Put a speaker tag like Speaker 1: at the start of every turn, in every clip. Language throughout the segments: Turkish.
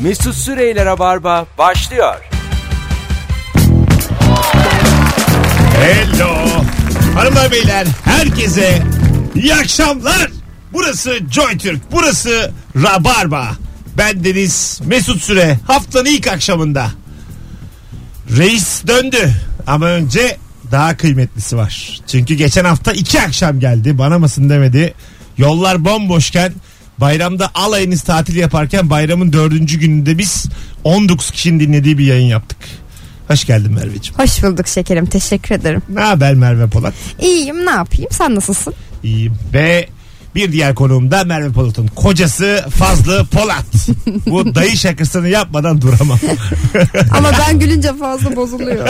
Speaker 1: Mesut Süreyler'e barba başlıyor.
Speaker 2: Hello. Hanımlar beyler herkese iyi akşamlar. Burası Joy Türk. Burası Rabarba. Ben Deniz Mesut Süre. Haftanın ilk akşamında. Reis döndü. Ama önce daha kıymetlisi var. Çünkü geçen hafta iki akşam geldi. Bana mısın demedi. Yollar bomboşken bayramda alayınız tatil yaparken bayramın dördüncü gününde biz 19 kişinin dinlediği bir yayın yaptık. Hoş geldin Merveciğim.
Speaker 3: Hoş bulduk şekerim. Teşekkür ederim.
Speaker 2: Ne haber Merve Polat?
Speaker 3: İyiyim ne yapayım? Sen nasılsın?
Speaker 2: İyiyim. Ve bir diğer konuğum da Merve Polat'ın kocası Fazlı Polat. Bu dayı şakasını yapmadan duramam.
Speaker 3: Ama ben gülünce fazla bozuluyor.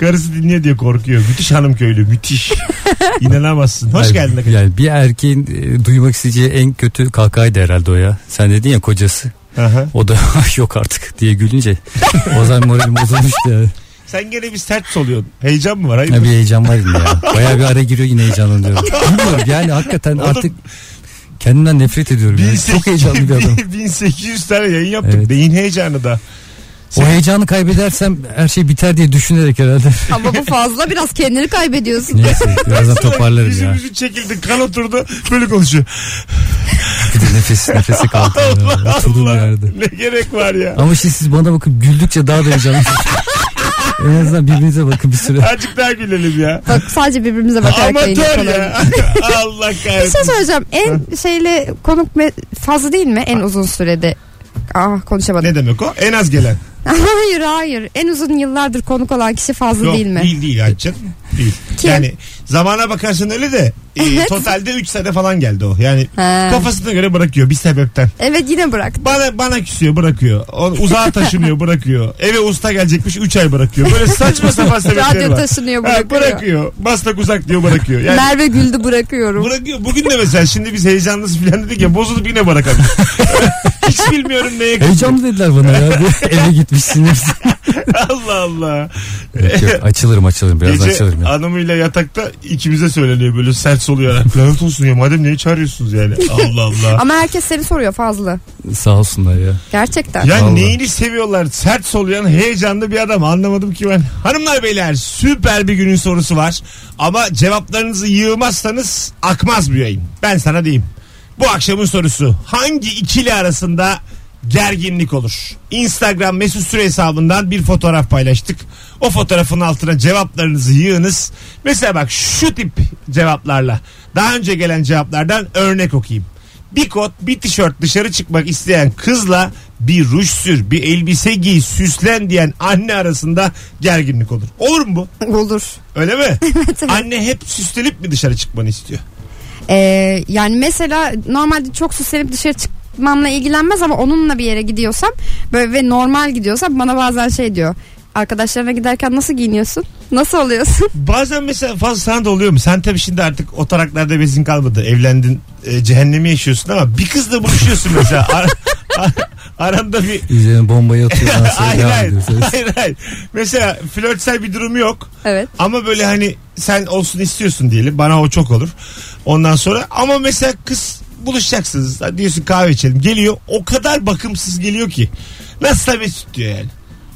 Speaker 2: Karısı dinliyor diye korkuyor. Müthiş hanım köylü müthiş. İnanamazsın. Hoş
Speaker 4: Ay,
Speaker 2: geldin. arkadaşım.
Speaker 4: Yani bir erkeğin e, duymak isteyeceği en kötü kahkahaydı herhalde o ya. Sen dedin ya kocası.
Speaker 2: Aha.
Speaker 4: O da yok artık diye gülünce. o zaman moralim bozulmuştu yani.
Speaker 2: Sen gene bir sert soluyorsun. Heyecan mı var? Hayır.
Speaker 4: Ya bir heyecan var yine ya. Baya bir ara giriyor yine heyecanlanıyorum. Bilmiyorum yani hakikaten
Speaker 2: Oğlum.
Speaker 4: artık kendimden nefret ediyorum. Yani. Çok heyecanlı bir adam.
Speaker 2: 1800 tane yayın yaptık.
Speaker 4: Evet.
Speaker 2: Beyin heyecanı da.
Speaker 4: O heyecanı kaybedersem her şey biter diye düşünerek herhalde.
Speaker 3: Ama bu fazla biraz kendini kaybediyorsun.
Speaker 4: Neyse birazdan toparlarım ya.
Speaker 2: Yüzümüzü çekildi. Kan oturdu. Böyle konuşuyor.
Speaker 4: Bir de nefes nefesi kaldı.
Speaker 2: Allah
Speaker 4: Atıldım
Speaker 2: Allah.
Speaker 4: yerde.
Speaker 2: Ne gerek var ya?
Speaker 4: Ama şimdi siz bana bakıp güldükçe daha da heyecanlı. en azından birbirinize bakın bir süre.
Speaker 2: Azıcık daha gülelim ya.
Speaker 3: Bak sadece birbirimize bakarak yayın
Speaker 2: Amatör
Speaker 3: yapalım.
Speaker 2: ya. Allah
Speaker 3: Bir şey
Speaker 2: kahretsin.
Speaker 3: söyleyeceğim. En şeyle konuk me- fazla değil mi? En uzun sürede. Ah konuşamadım.
Speaker 2: Ne demek o? En az gelen.
Speaker 3: hayır hayır. En uzun yıllardır konuk olan kişi fazla
Speaker 2: Yok,
Speaker 3: değil mi?
Speaker 2: Değil değil Ayçin. Değil.
Speaker 3: Kim?
Speaker 2: Yani zamana bakarsın öyle de e,
Speaker 3: Evet.
Speaker 2: totalde 3 sene falan geldi o. Yani
Speaker 3: Ha.
Speaker 2: kafasına göre bırakıyor bir sebepten.
Speaker 3: Evet yine bıraktı.
Speaker 2: Bana bana küsüyor bırakıyor. O, uzağa taşınıyor bırakıyor. Eve usta gelecekmiş 3 ay bırakıyor. Böyle saçma sapan sebepleri
Speaker 3: Radyo
Speaker 2: var.
Speaker 3: taşınıyor
Speaker 2: Ha,
Speaker 3: bırakıyor.
Speaker 2: bırakıyor. Maslak uzak diyor bırakıyor. Yani
Speaker 3: Merve güldü bırakıyorum.
Speaker 2: bırakıyor. Bugün de mesela şimdi biz heyecanlıyız filan dedik ya bozulup yine bırakamıyor. Hiç bilmiyorum neye
Speaker 4: Heyecanlı dediler bana ya. Bir Eve gitmişsiniz.
Speaker 2: Allah Allah.
Speaker 4: Yok, yok, açılırım açılırım. Biraz
Speaker 2: Gece
Speaker 4: açılırım. Ya.
Speaker 2: hanımıyla yatakta ikimize söyleniyor böyle sert soluyor. Lanet olsun ya madem niye çağırıyorsunuz yani. Allah Allah.
Speaker 3: Ama herkes seni soruyor fazla.
Speaker 4: Sağ olsunlar ya.
Speaker 3: Gerçekten.
Speaker 2: Ya
Speaker 4: Vallahi.
Speaker 2: neyini seviyorlar? Sert soluyan heyecanlı bir adam. Anlamadım ki ben. Hanımlar beyler süper bir günün sorusu var. Ama cevaplarınızı yığmazsanız akmaz bu yayın. Ben sana diyeyim. Bu akşamın sorusu hangi ikili arasında gerginlik olur? Instagram mesut süre hesabından bir fotoğraf paylaştık. O fotoğrafın altına cevaplarınızı yığınız. Mesela bak şu tip cevaplarla daha önce gelen cevaplardan örnek okuyayım. Bir kot, bir tişört dışarı çıkmak isteyen kızla bir ruj sür, bir elbise giy, süslen diyen anne arasında gerginlik olur. Olur mu bu?
Speaker 3: Olur.
Speaker 2: Öyle mi?
Speaker 3: evet.
Speaker 2: Anne hep süslenip mi dışarı çıkmanı istiyor?
Speaker 3: Ee, yani mesela normalde çok süslenip dışarı çıkmamla ilgilenmez ama onunla bir yere gidiyorsam böyle ve normal gidiyorsam bana bazen şey diyor. Arkadaşlarına giderken nasıl giyiniyorsun? Nasıl oluyorsun?
Speaker 2: Bazen mesela fazla sana da oluyor mu? Sen tabii şimdi artık o taraklarda bezin kalmadı. Evlendin, e, cehennemi yaşıyorsun ama bir kızla buluşuyorsun mesela. Ar- ar- aranda bir
Speaker 4: Üzerine bombayı atıyor. ondan sonra
Speaker 2: hayır,
Speaker 4: devam
Speaker 2: hayır,
Speaker 4: ediyoruz.
Speaker 2: hayır, hayır. Mesela flörtsel bir durum yok.
Speaker 3: Evet.
Speaker 2: Ama böyle hani sen olsun istiyorsun diyelim. Bana o çok olur. Ondan sonra ama mesela kız buluşacaksınız. Hadi Diyorsun kahve içelim. Geliyor o kadar bakımsız geliyor ki. Nasılsa Mesut diyor yani.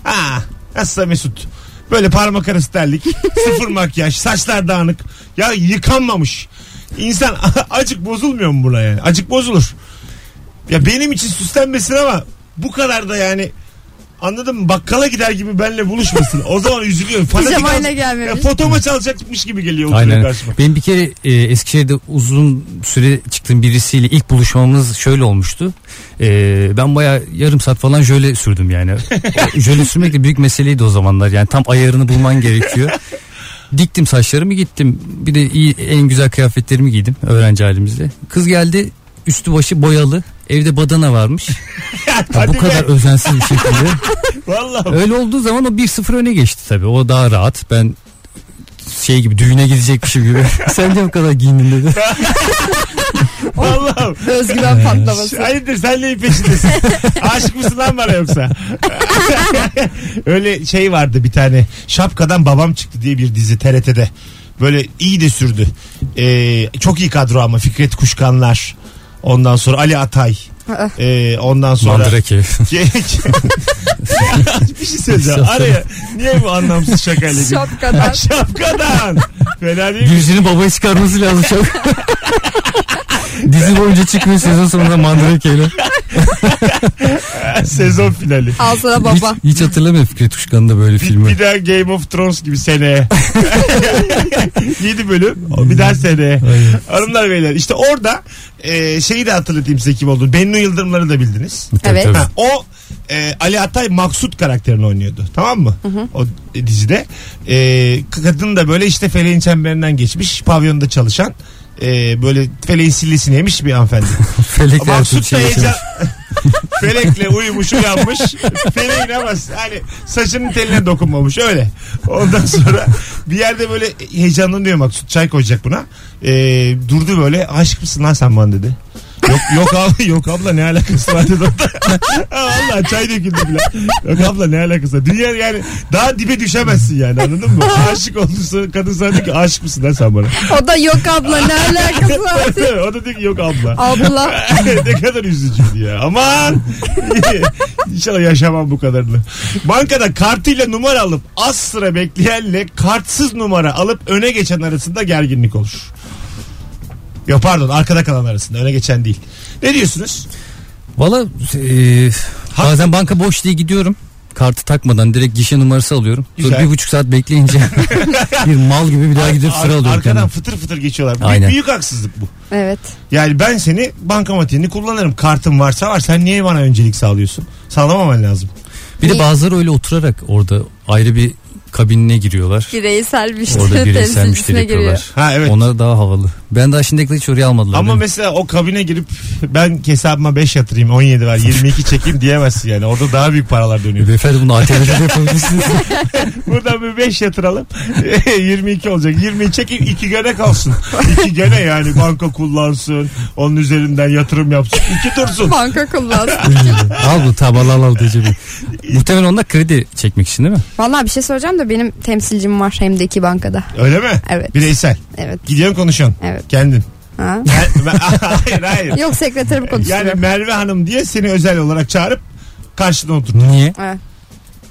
Speaker 2: Ha, nasılsa Mesut. Böyle parmak arası terlik, sıfır makyaj, saçlar dağınık. Ya yıkanmamış. İnsan acık bozulmuyor mu buna yani? Acık bozulur. Ya benim için süslenmesin ama bu kadar da yani anladın mı? Bakkala gider gibi benle buluşmasın. O zaman üzülüyorum. Fanatik
Speaker 3: Pijamayla
Speaker 2: al-
Speaker 3: gelmemiş.
Speaker 2: Ya fotoma çalacakmış gibi geliyor oturuyor
Speaker 4: Aynen.
Speaker 2: karşıma.
Speaker 4: Benim bir kere e, Eskişehir'de uzun süre çıktığım birisiyle ilk buluşmamız şöyle olmuştu. E, ben baya yarım saat falan jöle sürdüm yani. O jöle sürmek de büyük meseleydi o zamanlar. Yani tam ayarını bulman gerekiyor. Diktim saçlarımı gittim. Bir de iyi, en güzel kıyafetlerimi giydim öğrenci halimizde. Kız geldi üstü başı boyalı. Evde badana varmış. Ya
Speaker 2: Hadi
Speaker 4: bu
Speaker 2: be.
Speaker 4: kadar özensiz bir şekilde.
Speaker 2: Vallahi.
Speaker 4: Öyle olduğu zaman o 1-0 öne geçti tabii. O daha rahat. Ben şey gibi düğüne gidecekmişim gibi. Sen de bu kadar giyindin dedi.
Speaker 2: Vallahi.
Speaker 3: Özgüven patlaması.
Speaker 2: Hayırdır sen neyin peşindesin? Aşık mısın lan bana yoksa? Öyle şey vardı bir tane. Şapkadan babam çıktı diye bir dizi TRT'de. Böyle iyi de sürdü. Ee, çok iyi kadro ama Fikret Kuşkanlar. Ondan sonra Ali Atay.
Speaker 3: Aa.
Speaker 2: Ee, ondan sonra
Speaker 4: Mandrake.
Speaker 2: bir şey söyleyeceğim. Araya niye bu anlamsız şakayla girdin?
Speaker 3: Şapkadan.
Speaker 2: Şapkadan. Fena değil mi?
Speaker 4: Gülşen'in babayı çıkarması lazım çok. Dizi boyunca çıkmıyor sezon sonunda mandrakeyle.
Speaker 2: Sezon finali.
Speaker 3: Al sana
Speaker 4: Hiç,
Speaker 3: baba.
Speaker 4: hiç hatırlamıyorum Fikret Uşkan'ın da böyle
Speaker 2: Bir,
Speaker 4: filmi.
Speaker 2: bir daha Game of Thrones gibi seneye. 7 bölüm. Bir daha seneye. Hanımlar beyler işte orada e, şeyi de hatırlatayım size kim olduğunu. Bennu Yıldırımları da bildiniz.
Speaker 3: Evet.
Speaker 4: Tabii, tabii.
Speaker 2: Ha, o e, Ali Atay Maksut karakterini oynuyordu. Tamam mı? O e, dizide. E, kadın da böyle işte feleğin çemberinden geçmiş. Pavyonda çalışan. e, böyle feleğin sillisini yemiş bir hanımefendi.
Speaker 4: Felek her türlü
Speaker 2: Maksut da
Speaker 4: şey
Speaker 2: heyecan...
Speaker 4: yaşamış.
Speaker 2: Felekle uyumuş uyanmış. Feleğin ama hani saçının teline dokunmamış öyle. Ondan sonra bir yerde böyle heyecanlanıyor Maksut. Çay koyacak buna. Ee, durdu böyle aşık mısın lan sen bana dedi. Yok yok abla yok abla ne alakası var dedi orada. Ha, Vallahi çay döküldü bile. Yok abla ne alakası var. Dünya yani daha dibe düşemezsin yani anladın mı? Aşık oldun sonra kadın sana diyor ki aşık mısın lan sen bana.
Speaker 3: O da yok abla ne alakası var.
Speaker 2: o da diyor ki yok abla.
Speaker 3: Abla.
Speaker 2: ne kadar üzücüydü ya. Aman. İnşallah yaşamam bu kadarını. Bankada kartıyla numara alıp az sıra bekleyenle kartsız numara alıp öne geçen arasında gerginlik olur. Yok pardon arkada kalan arasında öne geçen değil. Ne diyorsunuz?
Speaker 4: Valla e, bazen banka boş diye gidiyorum. Kartı takmadan direkt gişe numarası alıyorum. Sonra
Speaker 2: Güzel.
Speaker 4: bir buçuk saat bekleyince bir mal gibi bir daha gidip
Speaker 2: Ar-
Speaker 4: sıra alıyorum.
Speaker 2: Arkadan
Speaker 4: kendim.
Speaker 2: fıtır fıtır geçiyorlar. Bu
Speaker 4: Aynen.
Speaker 2: Büyük haksızlık bu.
Speaker 3: Evet.
Speaker 2: Yani ben seni bankamatiğini kullanırım. Kartım varsa var. Sen niye bana öncelik sağlıyorsun? Sağlamaman lazım.
Speaker 4: Bir de bazıları öyle oturarak orada ayrı bir kabinine giriyorlar.
Speaker 3: Bireysel
Speaker 4: Orada
Speaker 3: müşteri
Speaker 4: bireysel
Speaker 3: temsilcisine
Speaker 4: müşteri
Speaker 3: giriyor.
Speaker 4: yapıyorlar.
Speaker 2: Ha evet.
Speaker 4: Ona daha havalı. Ben daha şimdilik hiç oraya almadılar.
Speaker 2: Ama
Speaker 4: beni.
Speaker 2: mesela o kabine girip ben hesabıma 5 yatırayım 17 ver 22 çekeyim diyemezsin yani. Orada daha büyük paralar dönüyor.
Speaker 4: Beyefendi bunu ATV'de de yapabilirsiniz.
Speaker 2: Buradan bir 5 yatıralım 22 olacak. 20'yi çekeyim 2 gene kalsın. 2 gene yani banka kullansın. Onun üzerinden yatırım yapsın. 2 dursun.
Speaker 3: Banka kullansın.
Speaker 4: al bu tamam al al diyeceğim. Muhtemelen onda kredi çekmek için değil mi?
Speaker 3: Valla bir şey soracağım da benim temsilcim var hem de iki bankada.
Speaker 2: Öyle mi?
Speaker 3: Evet.
Speaker 2: Bireysel.
Speaker 3: Evet.
Speaker 2: Gidiyorsun konuşuyorsun.
Speaker 3: Evet.
Speaker 2: Kendin.
Speaker 3: Ha?
Speaker 2: Ben- ben- hayır hayır.
Speaker 3: Yok sekreterim konuşuyor.
Speaker 2: Yani Merve Hanım diye seni özel olarak çağırıp karşına otur.
Speaker 4: Niye?
Speaker 3: Evet.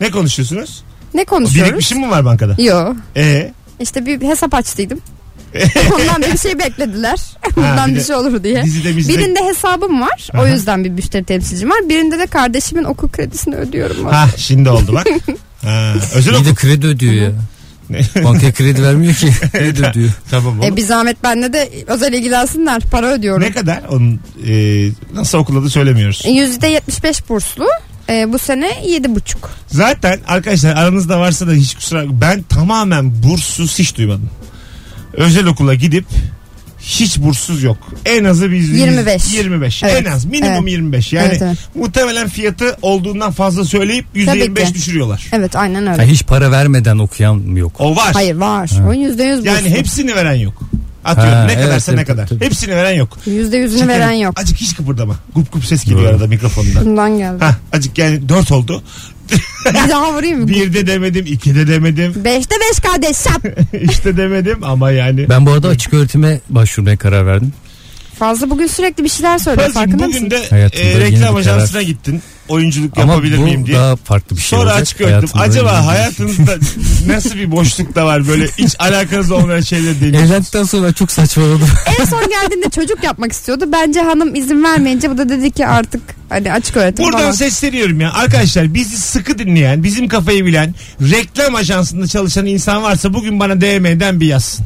Speaker 2: Ne konuşuyorsunuz?
Speaker 3: Ne konuşuyoruz?
Speaker 2: Birikmişin şey mi var bankada?
Speaker 3: Yok.
Speaker 2: Ee,
Speaker 3: İşte bir hesap açtıydım. Ondan bir şey beklediler.
Speaker 2: Ha,
Speaker 3: Bundan
Speaker 2: bir
Speaker 3: bir
Speaker 2: de-
Speaker 3: şey olur diye.
Speaker 2: dizide bizde.
Speaker 3: Birinde hesabım var.
Speaker 2: Aha.
Speaker 3: O yüzden bir müşteri temsilcim var. Birinde de kardeşimin okul kredisini ödüyorum. E,
Speaker 2: Ha şimdi oldu bak. Ha, özel
Speaker 4: İyi
Speaker 2: okul.
Speaker 4: de kredi ödüyor ya. Bankaya kredi vermiyor ki. Kredi ödüyor.
Speaker 2: Tamam oğlum.
Speaker 3: E bir zahmet bende de özel ilgilensinler. Para ödüyorum.
Speaker 2: Ne kadar? Onun e, nasıl okuladı söylemiyoruz.
Speaker 3: %75 burslu. E, bu sene 7,5.
Speaker 2: Zaten arkadaşlar aranızda varsa da hiç kusura ben tamamen burssuz hiç duymadım. Özel okula gidip hiç burssuz yok. En azı biz
Speaker 3: 25.
Speaker 2: 25.
Speaker 3: Evet.
Speaker 2: En az minimum
Speaker 3: Evet.
Speaker 2: 25. Yani
Speaker 3: Evet, evet.
Speaker 2: muhtemelen fiyatı olduğundan fazla söyleyip %25
Speaker 3: ki.
Speaker 2: düşürüyorlar.
Speaker 3: Evet aynen öyle.
Speaker 4: Ha, hiç para vermeden okuyan yok.
Speaker 2: O var.
Speaker 3: Hayır var. O %100 burslu.
Speaker 2: Yani hepsini veren yok. Atıyorum
Speaker 4: Ha,
Speaker 2: ne
Speaker 4: evet,
Speaker 2: kadarsa ne
Speaker 4: evet,
Speaker 2: kadar.
Speaker 4: tabii.
Speaker 2: Hepsini veren yok.
Speaker 3: %100'ünü
Speaker 2: Şekerim,
Speaker 3: veren yok.
Speaker 2: Acık hiç kıpırdama. Gup gup ses geliyor
Speaker 4: Doğru.
Speaker 2: arada mikrofondan.
Speaker 3: Bundan geldi.
Speaker 2: Hah acık yani 4 oldu.
Speaker 3: Bir daha vurayım mı?
Speaker 2: Bir de demedim, iki de demedim,
Speaker 3: Beşte beş kardeş şap.
Speaker 2: işte demedim ama yani.
Speaker 4: Ben bu arada açık öğretime başvurmaya karar verdim.
Speaker 3: Fazla bugün sürekli bir şeyler söylüyor
Speaker 2: Pazım,
Speaker 3: farkında mısın?
Speaker 2: bugün de
Speaker 4: Hayatımda
Speaker 2: e,
Speaker 4: yeni bir
Speaker 2: reklam
Speaker 4: karar.
Speaker 2: ajansına gittin. Oyunculuk
Speaker 4: Ama
Speaker 2: yapabilir miyim
Speaker 4: bu
Speaker 2: diye.
Speaker 4: daha farklı bir şey
Speaker 2: Sonra
Speaker 4: olacak.
Speaker 2: açık öğretim.
Speaker 4: Hayatımda yeni
Speaker 2: Acaba
Speaker 4: bir- şey.
Speaker 2: hayatınızda nasıl bir boşluk da var böyle hiç alakanız olmayan şeyler deniyor.
Speaker 4: şey. Evlendikten sonra çok saçmaladım.
Speaker 3: En son geldiğinde çocuk yapmak istiyordu. Bence hanım izin vermeyince bu da dedi ki artık hani açık öğretim
Speaker 2: Buradan
Speaker 3: falan.
Speaker 2: sesleniyorum ya. Arkadaşlar bizi sıkı dinleyen, bizim kafayı bilen, reklam ajansında çalışan insan varsa bugün bana DM'den bir yazsın.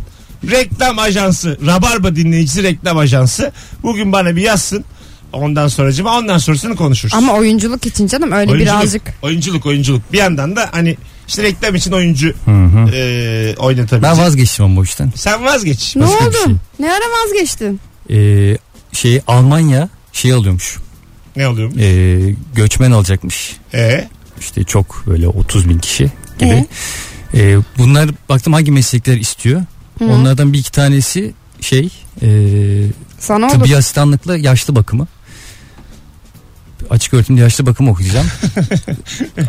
Speaker 2: Reklam ajansı, Rabarba dinleyicisi reklam ajansı. Bugün bana bir yazsın. Ondan sonracıma ondan sonrasını konuşuruz.
Speaker 3: Ama oyunculuk için canım öyle birazcık.
Speaker 2: Oyunculuk, oyunculuk. Bir yandan da hani işte reklam için oyuncu e,
Speaker 4: Ben
Speaker 2: oynatabilecek.
Speaker 4: vazgeçtim ama bu işten.
Speaker 2: Sen vazgeç.
Speaker 3: Ne
Speaker 4: Başka bir
Speaker 3: oldu?
Speaker 4: şey.
Speaker 3: Ne ara vazgeçtin?
Speaker 4: Ee, şey Almanya şey alıyormuş.
Speaker 2: Ne oluyor?
Speaker 4: Ee, göçmen alacakmış.
Speaker 2: E,
Speaker 4: İşte çok böyle 30 bin kişi gibi.
Speaker 3: Ee?
Speaker 4: Ee, bunlar baktım hangi meslekler istiyor.
Speaker 3: Hı.
Speaker 4: Onlardan bir iki tanesi şey e,
Speaker 3: Sana oldu.
Speaker 4: tıbbi asistanlıkla yaşlı bakımı. Açık öğretimde yaşlı bakım okuyacağım.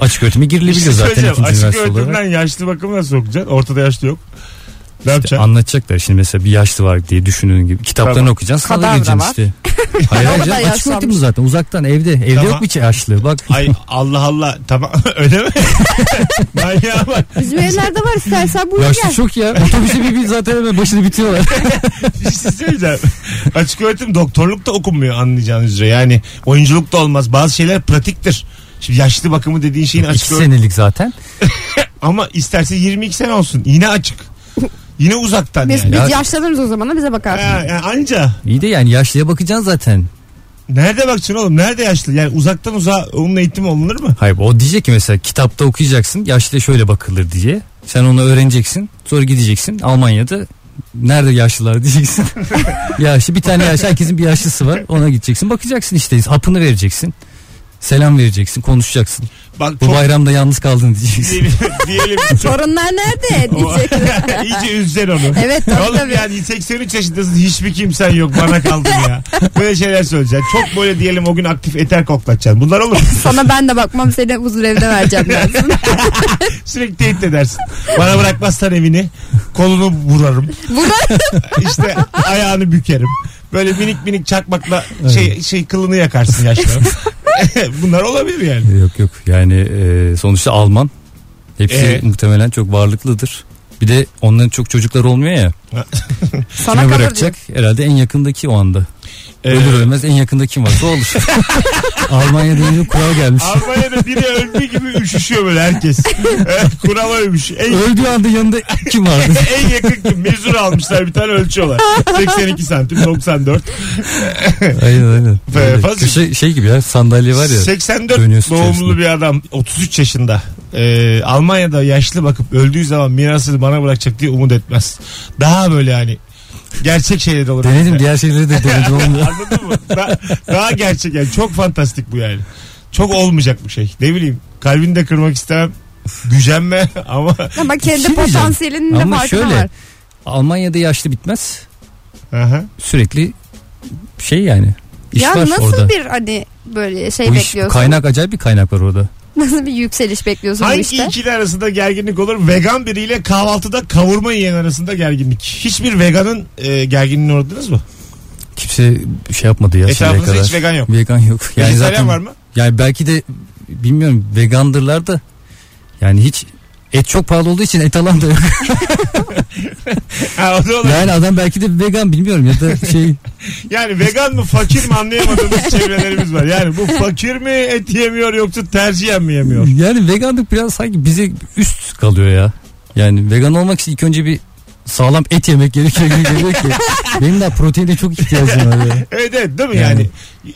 Speaker 4: açık öğretime
Speaker 2: bir
Speaker 4: girilebiliyor
Speaker 2: şey
Speaker 4: zaten
Speaker 2: söyleyeceğim.
Speaker 4: ikinci
Speaker 2: Açık
Speaker 4: üniversite olarak.
Speaker 2: öğretimden yaşlı bakımı nasıl okuyacaksın? Ortada yaşlı yok. Ne
Speaker 4: İşte
Speaker 2: yapacaksın?
Speaker 4: anlatacaklar şimdi mesela bir yaşlı var diye düşünün gibi. Kitaplarını
Speaker 2: Tamam.
Speaker 4: okuyacaksın. Sınava
Speaker 3: Kadavra
Speaker 4: gireceksin
Speaker 3: var.
Speaker 4: işte. Hayır
Speaker 3: O
Speaker 4: hayır
Speaker 3: da
Speaker 4: canım, açık
Speaker 3: yaşlanmış.
Speaker 4: öğretim bu zaten uzaktan evde. Evde
Speaker 2: Tamam.
Speaker 4: yok mu hiç açlığı bak.
Speaker 2: Ay Allah Allah tamam öyle mi? Manyağa bak.
Speaker 3: Bizim evlerde var istersen buyur
Speaker 4: Yaşlı
Speaker 3: gel.
Speaker 4: çok ya. Otobüse bir bin zaten hemen başını bitiyorlar.
Speaker 2: Bir şey söyleyeceğim. Açık öğretim doktorluk da okunmuyor anlayacağınız üzere. Yani oyunculuk da olmaz. Bazı şeyler pratiktir. Şimdi yaşlı bakımı dediğin şeyin açık
Speaker 4: İki
Speaker 2: öğretim.
Speaker 4: senelik zaten.
Speaker 2: Ama isterse 22 sene olsun. Yine açık. Yine uzaktan
Speaker 3: Biz,
Speaker 2: yani.
Speaker 4: Ya-
Speaker 3: biz yaşlanırız o zaman da bize bakar.
Speaker 2: Ha, yani anca.
Speaker 4: İyi de yani yaşlıya bakacaksın zaten.
Speaker 2: Nerede bakacaksın oğlum? Nerede yaşlı? Yani uzaktan uzağa onun eğitimi alınır mı?
Speaker 4: Hayır o diyecek ki mesela kitapta okuyacaksın yaşlıya şöyle bakılır diye. Sen onu öğreneceksin sonra gideceksin Almanya'da nerede yaşlılar diyeceksin. Yaşlı bir tane yaşlı herkesin bir yaşlısı var ona gideceksin bakacaksın işte hapını vereceksin. Selam vereceksin konuşacaksın.
Speaker 2: Bak
Speaker 4: Bu
Speaker 2: çok-
Speaker 4: bayramda yalnız kaldın diyeceksin.
Speaker 2: diyelim. diyelim çok...
Speaker 3: Torunlar nerede? diyecek.
Speaker 2: İyice üzeceksin onu.
Speaker 3: Evet, tabii,
Speaker 2: Oğlum
Speaker 3: tabii.
Speaker 2: yani 83 yaşındasın hiçbir kimsen yok bana kaldın ya. Böyle şeyler söyleyeceksin. Çok böyle diyelim o gün aktif eter koklatacaksın. Bunlar olur.
Speaker 3: Sana ben de bakmam seni huzur evde vereceğim dersin.
Speaker 2: Sürekli tehdit edersin. Bana bırakmazsan evini kolunu vurarım.
Speaker 3: Burada
Speaker 2: İşte ayağını bükerim. Böyle minik minik çakmakla şey şey kılını yakarsın yaşlı. Bunlar olabilir yani.
Speaker 4: yok yok yani e, sonuçta Alman. Hepsi
Speaker 3: E?
Speaker 2: Ee?
Speaker 4: muhtemelen çok varlıklıdır. Bir de onların çok çocuklar olmuyor ya.
Speaker 3: sana E?
Speaker 4: Kime
Speaker 3: kalır
Speaker 4: bırakacak? Herhalde en yakındaki o anda.
Speaker 2: Ee,
Speaker 4: Ölür ölmez en yakında kim varsa o olur. Almanya deyince kural gelmiş.
Speaker 2: Almanya'da biri öldüğü gibi üşüşüyor böyle herkes. Kural ölmüş. En,
Speaker 4: Öldüğü anda yanında kim vardı?
Speaker 2: en yakın kim? Mezur almışlar bir tane ölçüyorlar. 82 santim 94.
Speaker 4: aynen aynen. Böyle
Speaker 2: fazla-
Speaker 4: köşe- şey gibi ya sandalye var ya.
Speaker 3: Şey-
Speaker 2: 84
Speaker 4: dönüyorsun
Speaker 2: doğumlu
Speaker 4: içerisinde.
Speaker 2: bir adam 33 yaşında. Ee, Almanya'da yaşlı bakıp öldüğü zaman mirasını bana bırakacak diye umut etmez. Daha böyle hani gerçek şeyle dolu.
Speaker 4: Denedim diğer şeyleri de denedim olmuyor.
Speaker 2: Anladın mı? Daha, daha gerçek yani. Çok fantastik bu yani. Çok olmayacak bu şey. Ne bileyim kalbini de kırmak istemem. Gücenme ama
Speaker 3: Ama
Speaker 4: Bir
Speaker 3: kendi
Speaker 4: şey diyeceğim.
Speaker 3: potansiyelinin de
Speaker 4: Ama
Speaker 3: farkına
Speaker 4: şöyle.
Speaker 3: var.
Speaker 4: Almanya'da yaşlı bitmez.
Speaker 2: Aha.
Speaker 4: Sürekli şey yani. İş
Speaker 3: ya
Speaker 4: var
Speaker 3: nasıl
Speaker 4: orada.
Speaker 3: bir hani böyle şey
Speaker 4: Bu iş
Speaker 3: bekliyorsun?
Speaker 4: kaynak acayip bir kaynak var orada.
Speaker 3: Nasıl bir yükseliş bekliyorsun bu
Speaker 2: hangi
Speaker 3: işte?
Speaker 2: ikili arasında gerginlik olur? Vegan biriyle kahvaltıda kavurma yiyen arasında gerginlik. Hiçbir veganın e, gerginliğini uğradınız mı?
Speaker 4: Kimse şey yapmadı ya şimdiye
Speaker 2: Etrafınızda
Speaker 4: kadar.
Speaker 2: hiç vegan yok.
Speaker 4: Vegan yok. Yani
Speaker 2: Vejetaryen
Speaker 4: zaten
Speaker 2: var mı?
Speaker 4: Yani belki de bilmiyorum vegandırlar da yani hiç et çok pahalı olduğu için et alan da yok.
Speaker 2: Ha, o da olur.
Speaker 4: Yani adam belki de vegan bilmiyorum ya da şey
Speaker 2: Yani vegan mı fakir mi anlayamadığımız çevrelerimiz var. Yani bu fakir mi et yemiyor yoksa tercihen mi yemiyor?
Speaker 4: yani veganlık biraz sanki bize üst kalıyor ya. Yani vegan olmak için ilk önce bir sağlam et yemek gerekiyor gibi geliyor ki. Benim de proteine çok ihtiyacım var ya.
Speaker 2: Evet evet değil mi yani?
Speaker 4: Yani.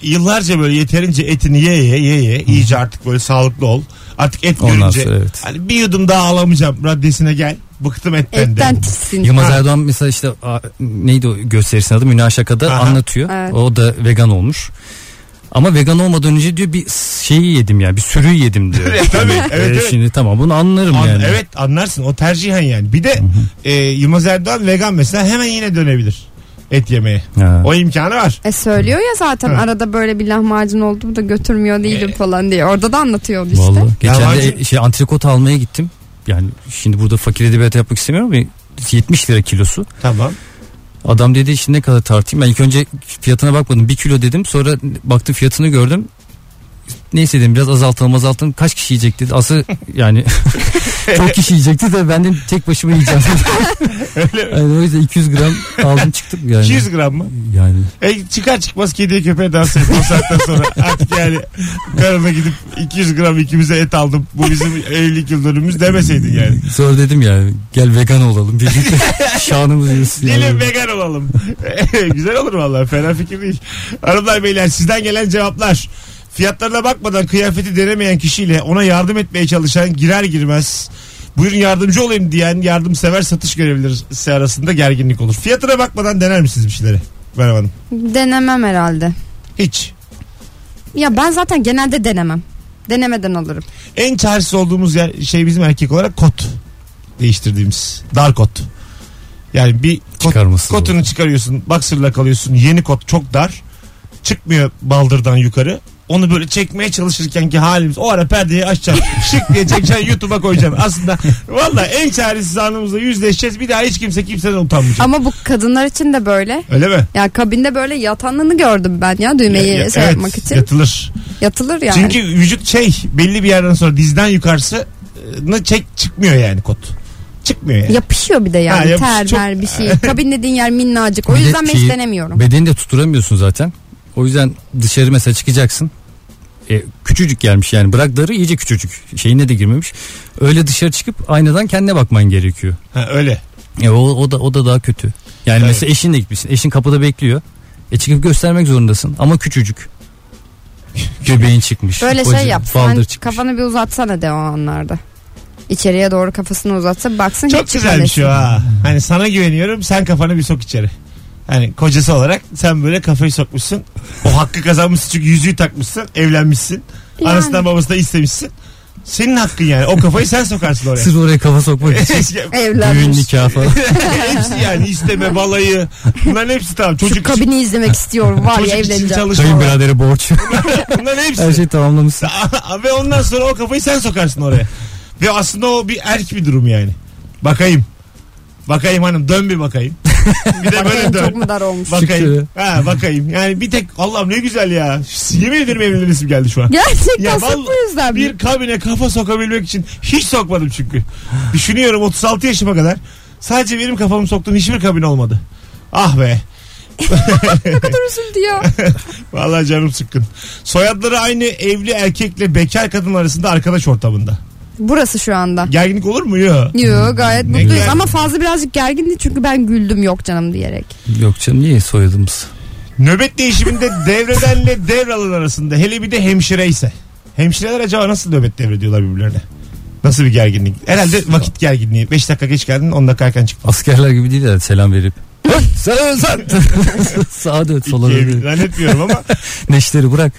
Speaker 2: Yıllarca böyle yeterince etini ye ye ye ye. iyice artık böyle sağlıklı ol. Artık et
Speaker 4: Ondan
Speaker 2: görünce
Speaker 4: sonra evet.
Speaker 2: hani bir yudum daha alamayacağım raddesine gel. Bıktım etten, de.
Speaker 3: Etten tiksin.
Speaker 4: Yılmaz
Speaker 2: Ha.
Speaker 4: Erdoğan mesela işte a- neydi o gösterisinin adı Münaşaka'da
Speaker 2: Aha.
Speaker 4: anlatıyor.
Speaker 3: Evet.
Speaker 4: O da vegan olmuş. Ama vegan olmadan önce diyor bir şeyi yedim ya bir sürüyü yedim diyor.
Speaker 2: Evet, tabii.
Speaker 4: Yani,
Speaker 2: Evet,
Speaker 4: e,
Speaker 2: evet.
Speaker 4: Şimdi tamam bunu anlarım
Speaker 2: An-
Speaker 4: yani.
Speaker 2: Evet anlarsın o tercihen yani. Bir de e, Yılmaz Erdoğan vegan mesela hemen yine dönebilir et yemeye.
Speaker 4: Ha.
Speaker 2: O imkanı var.
Speaker 3: E söylüyor ya zaten
Speaker 2: Ha.
Speaker 3: arada böyle bir lahmacun oldu da götürmüyor değilim falan diye. Orada da anlatıyor onu işte.
Speaker 4: Vallahi. Geçen
Speaker 2: Lahmacun-
Speaker 4: de şey antrikot almaya gittim. Yani şimdi burada fakir edebiyatı yapmak istemiyorum ama 70 lira kilosu.
Speaker 2: Tamam.
Speaker 4: Adam dedi işte ne kadar tartayım. Ben ilk önce fiyatına bakmadım. Bir kilo dedim. Sonra baktım fiyatını gördüm. Neyse dedim biraz azaltalım azaltalım. Kaç kişi yiyecek dedi. Asıl yani çok kişi yiyecekti de ben de tek başıma yiyeceğim.
Speaker 2: Öyle mi?
Speaker 4: yani o yüzden 200 gram aldım çıktım yani.
Speaker 2: 200 gram mı?
Speaker 4: Yani
Speaker 2: E, çıkar çıkmaz kediye köpeğe dans et o saatten sonra. Artık yani karına gidip 200 gram ikimize et aldım. Bu bizim evlilik yıl dönümümüz demeseydin yani.
Speaker 4: sonra dedim ya gel vegan olalım birlikte şanımız yürüsün.
Speaker 2: Gelin
Speaker 4: yani.
Speaker 2: vegan olalım. E, Güzel olur vallahi fena fikir değil. Hanımlar beyler sizden gelen cevaplar. Fiyatlarına bakmadan kıyafeti denemeyen kişiyle ona yardım etmeye çalışan girer girmez buyurun yardımcı olayım diyen yardımsever satış görevlileri arasında gerginlik olur. Fiyatına bakmadan dener misiniz bir şeyleri? Merhaba hanım.
Speaker 3: Denemem herhalde.
Speaker 2: Hiç.
Speaker 3: Ya ben zaten genelde denemem. Denemeden alırım.
Speaker 2: En çaresiz olduğumuz yer, şey bizim erkek olarak kot değiştirdiğimiz. Dar kot. Yani bir kot,
Speaker 4: Çıkarması zor.
Speaker 2: kotunu çıkarıyorsun, boxer'la kalıyorsun. Yeni kot çok dar. Çıkmıyor baldırdan yukarı. Onu böyle çekmeye çalışırken ki halimiz o ara perdeyi açacağım. Şık diye çekeceğim YouTube'a koyacağım. Aslında valla en çaresiz anımızla yüzleşeceğiz. Bir daha hiç kimse kimseden utanmayacak.
Speaker 3: Ama bu kadınlar için de böyle.
Speaker 2: Öyle mi?
Speaker 3: Ya kabinde böyle yatanlığını gördüm ben ya düğmeyi
Speaker 2: Ya- ya-
Speaker 3: şey
Speaker 2: evet,
Speaker 3: yapmak için.
Speaker 2: Yatılır.
Speaker 3: Yatılır yani.
Speaker 2: Çünkü vücut şey belli bir yerden sonra dizden yukarısı e, çek çıkmıyor yani kot. Çıkmıyor yani.
Speaker 3: Yapışıyor bir de
Speaker 2: Ha,
Speaker 3: yani
Speaker 2: yapış-
Speaker 3: ter
Speaker 2: çok-
Speaker 3: mer bir şey. Kabin dediğin yer minnacık. O
Speaker 4: Bir de
Speaker 3: yüzden ben
Speaker 4: şeyi-
Speaker 3: hiç denemiyorum.
Speaker 4: Bedeni de tutturamıyorsun zaten. O yüzden dışarı mesela çıkacaksın. E, küçücük gelmiş yani bırak darı iyice küçücük şeyine de girmemiş öyle dışarı çıkıp aynadan kendine bakman gerekiyor
Speaker 2: Ha, öyle.
Speaker 4: e, o, o da o da daha kötü yani
Speaker 2: Evet.
Speaker 4: mesela eşinle gitmişsin eşin kapıda bekliyor e, çıkıp göstermek zorundasın ama küçücük göbeğin çıkmış
Speaker 3: Böyle
Speaker 4: bacı-
Speaker 3: şey yap.
Speaker 4: baldır
Speaker 3: Sen
Speaker 4: çıkmış.
Speaker 3: kafanı bir uzatsana de o anlarda. İçeriye doğru kafasını uzatsa baksın
Speaker 2: Çok
Speaker 3: hiç
Speaker 2: güzel bir şey o
Speaker 3: çıkmadı.
Speaker 2: ha. Hani sana güveniyorum sen kafanı bir sok içeri. Hani kocası olarak sen böyle kafayı sokmuşsun. O hakkı kazanmışsın çünkü yüzüğü takmışsın. Evlenmişsin.
Speaker 3: Yani.
Speaker 2: Anasından babasından istemişsin. Senin hakkın yani. O kafayı sen sokarsın oraya.
Speaker 4: sırf oraya kafa sokmak için düğün
Speaker 3: Evlenmiş.
Speaker 4: nikah falan
Speaker 2: hepsi yani isteme balayı. Bunların hepsi tamam.
Speaker 3: Şu
Speaker 2: Çocuk için,
Speaker 3: kabini izlemek istiyorum var
Speaker 2: çocuk
Speaker 3: ya
Speaker 2: için
Speaker 3: evleneceğim.
Speaker 2: çalışma.
Speaker 4: kayınbiradere borç
Speaker 2: Bunların hepsi.
Speaker 4: her şey şeyi tamamlamışsın
Speaker 2: Ve ondan sonra o kafayı sen sokarsın oraya. Ve aslında o bir erk bir durum yani. Bakayım. Bakayım hanım dön bir bakayım. Bir de böyle
Speaker 3: Çok
Speaker 2: dön.
Speaker 3: mu dar olmuş?
Speaker 2: Bakayım. Ha bakayım. Yani bir tek Allah'ım ne güzel ya. Yemin ederim evlenisim geldi şu an. Ya
Speaker 3: Gerçekten sırf
Speaker 2: vallahi
Speaker 3: bu yüzden mi?
Speaker 2: Bir kabine kafa sokabilmek için hiç sokmadım çünkü. Düşünüyorum 36 yaşıma kadar sadece benim kafamı soktuğum hiçbir kabin olmadı. Ah be.
Speaker 3: Ne kadar üzüldü ya.
Speaker 2: Vallahi canım sıkkın. Soyadları aynı evli erkekle bekar kadın arasında arkadaş ortamında.
Speaker 3: Burası şu anda.
Speaker 2: Gerginlik olur mu? Yok.
Speaker 3: Yo gayet mutluyuz
Speaker 2: Hmm, güzel.
Speaker 3: ama fazla birazcık gergindi çünkü ben güldüm yok canım diyerek.
Speaker 4: yok canım niye soyadımız
Speaker 2: Nöbet değişiminde devredenle devralan arasında hele bir de hemşire ise. Hemşireler acaba nasıl nöbet devrediyorlar birbirlerine? Nasıl bir gerginlik? Herhalde vakit gerginliği. 5 dakika geç geldin 10 dakika erken çıktın.
Speaker 4: Askerler gibi değil de selam verip. Selam sen. Sağa dön sola
Speaker 2: İkiye bir-
Speaker 4: dön.
Speaker 2: Zannetmiyorum ama
Speaker 4: Neşteri bırak.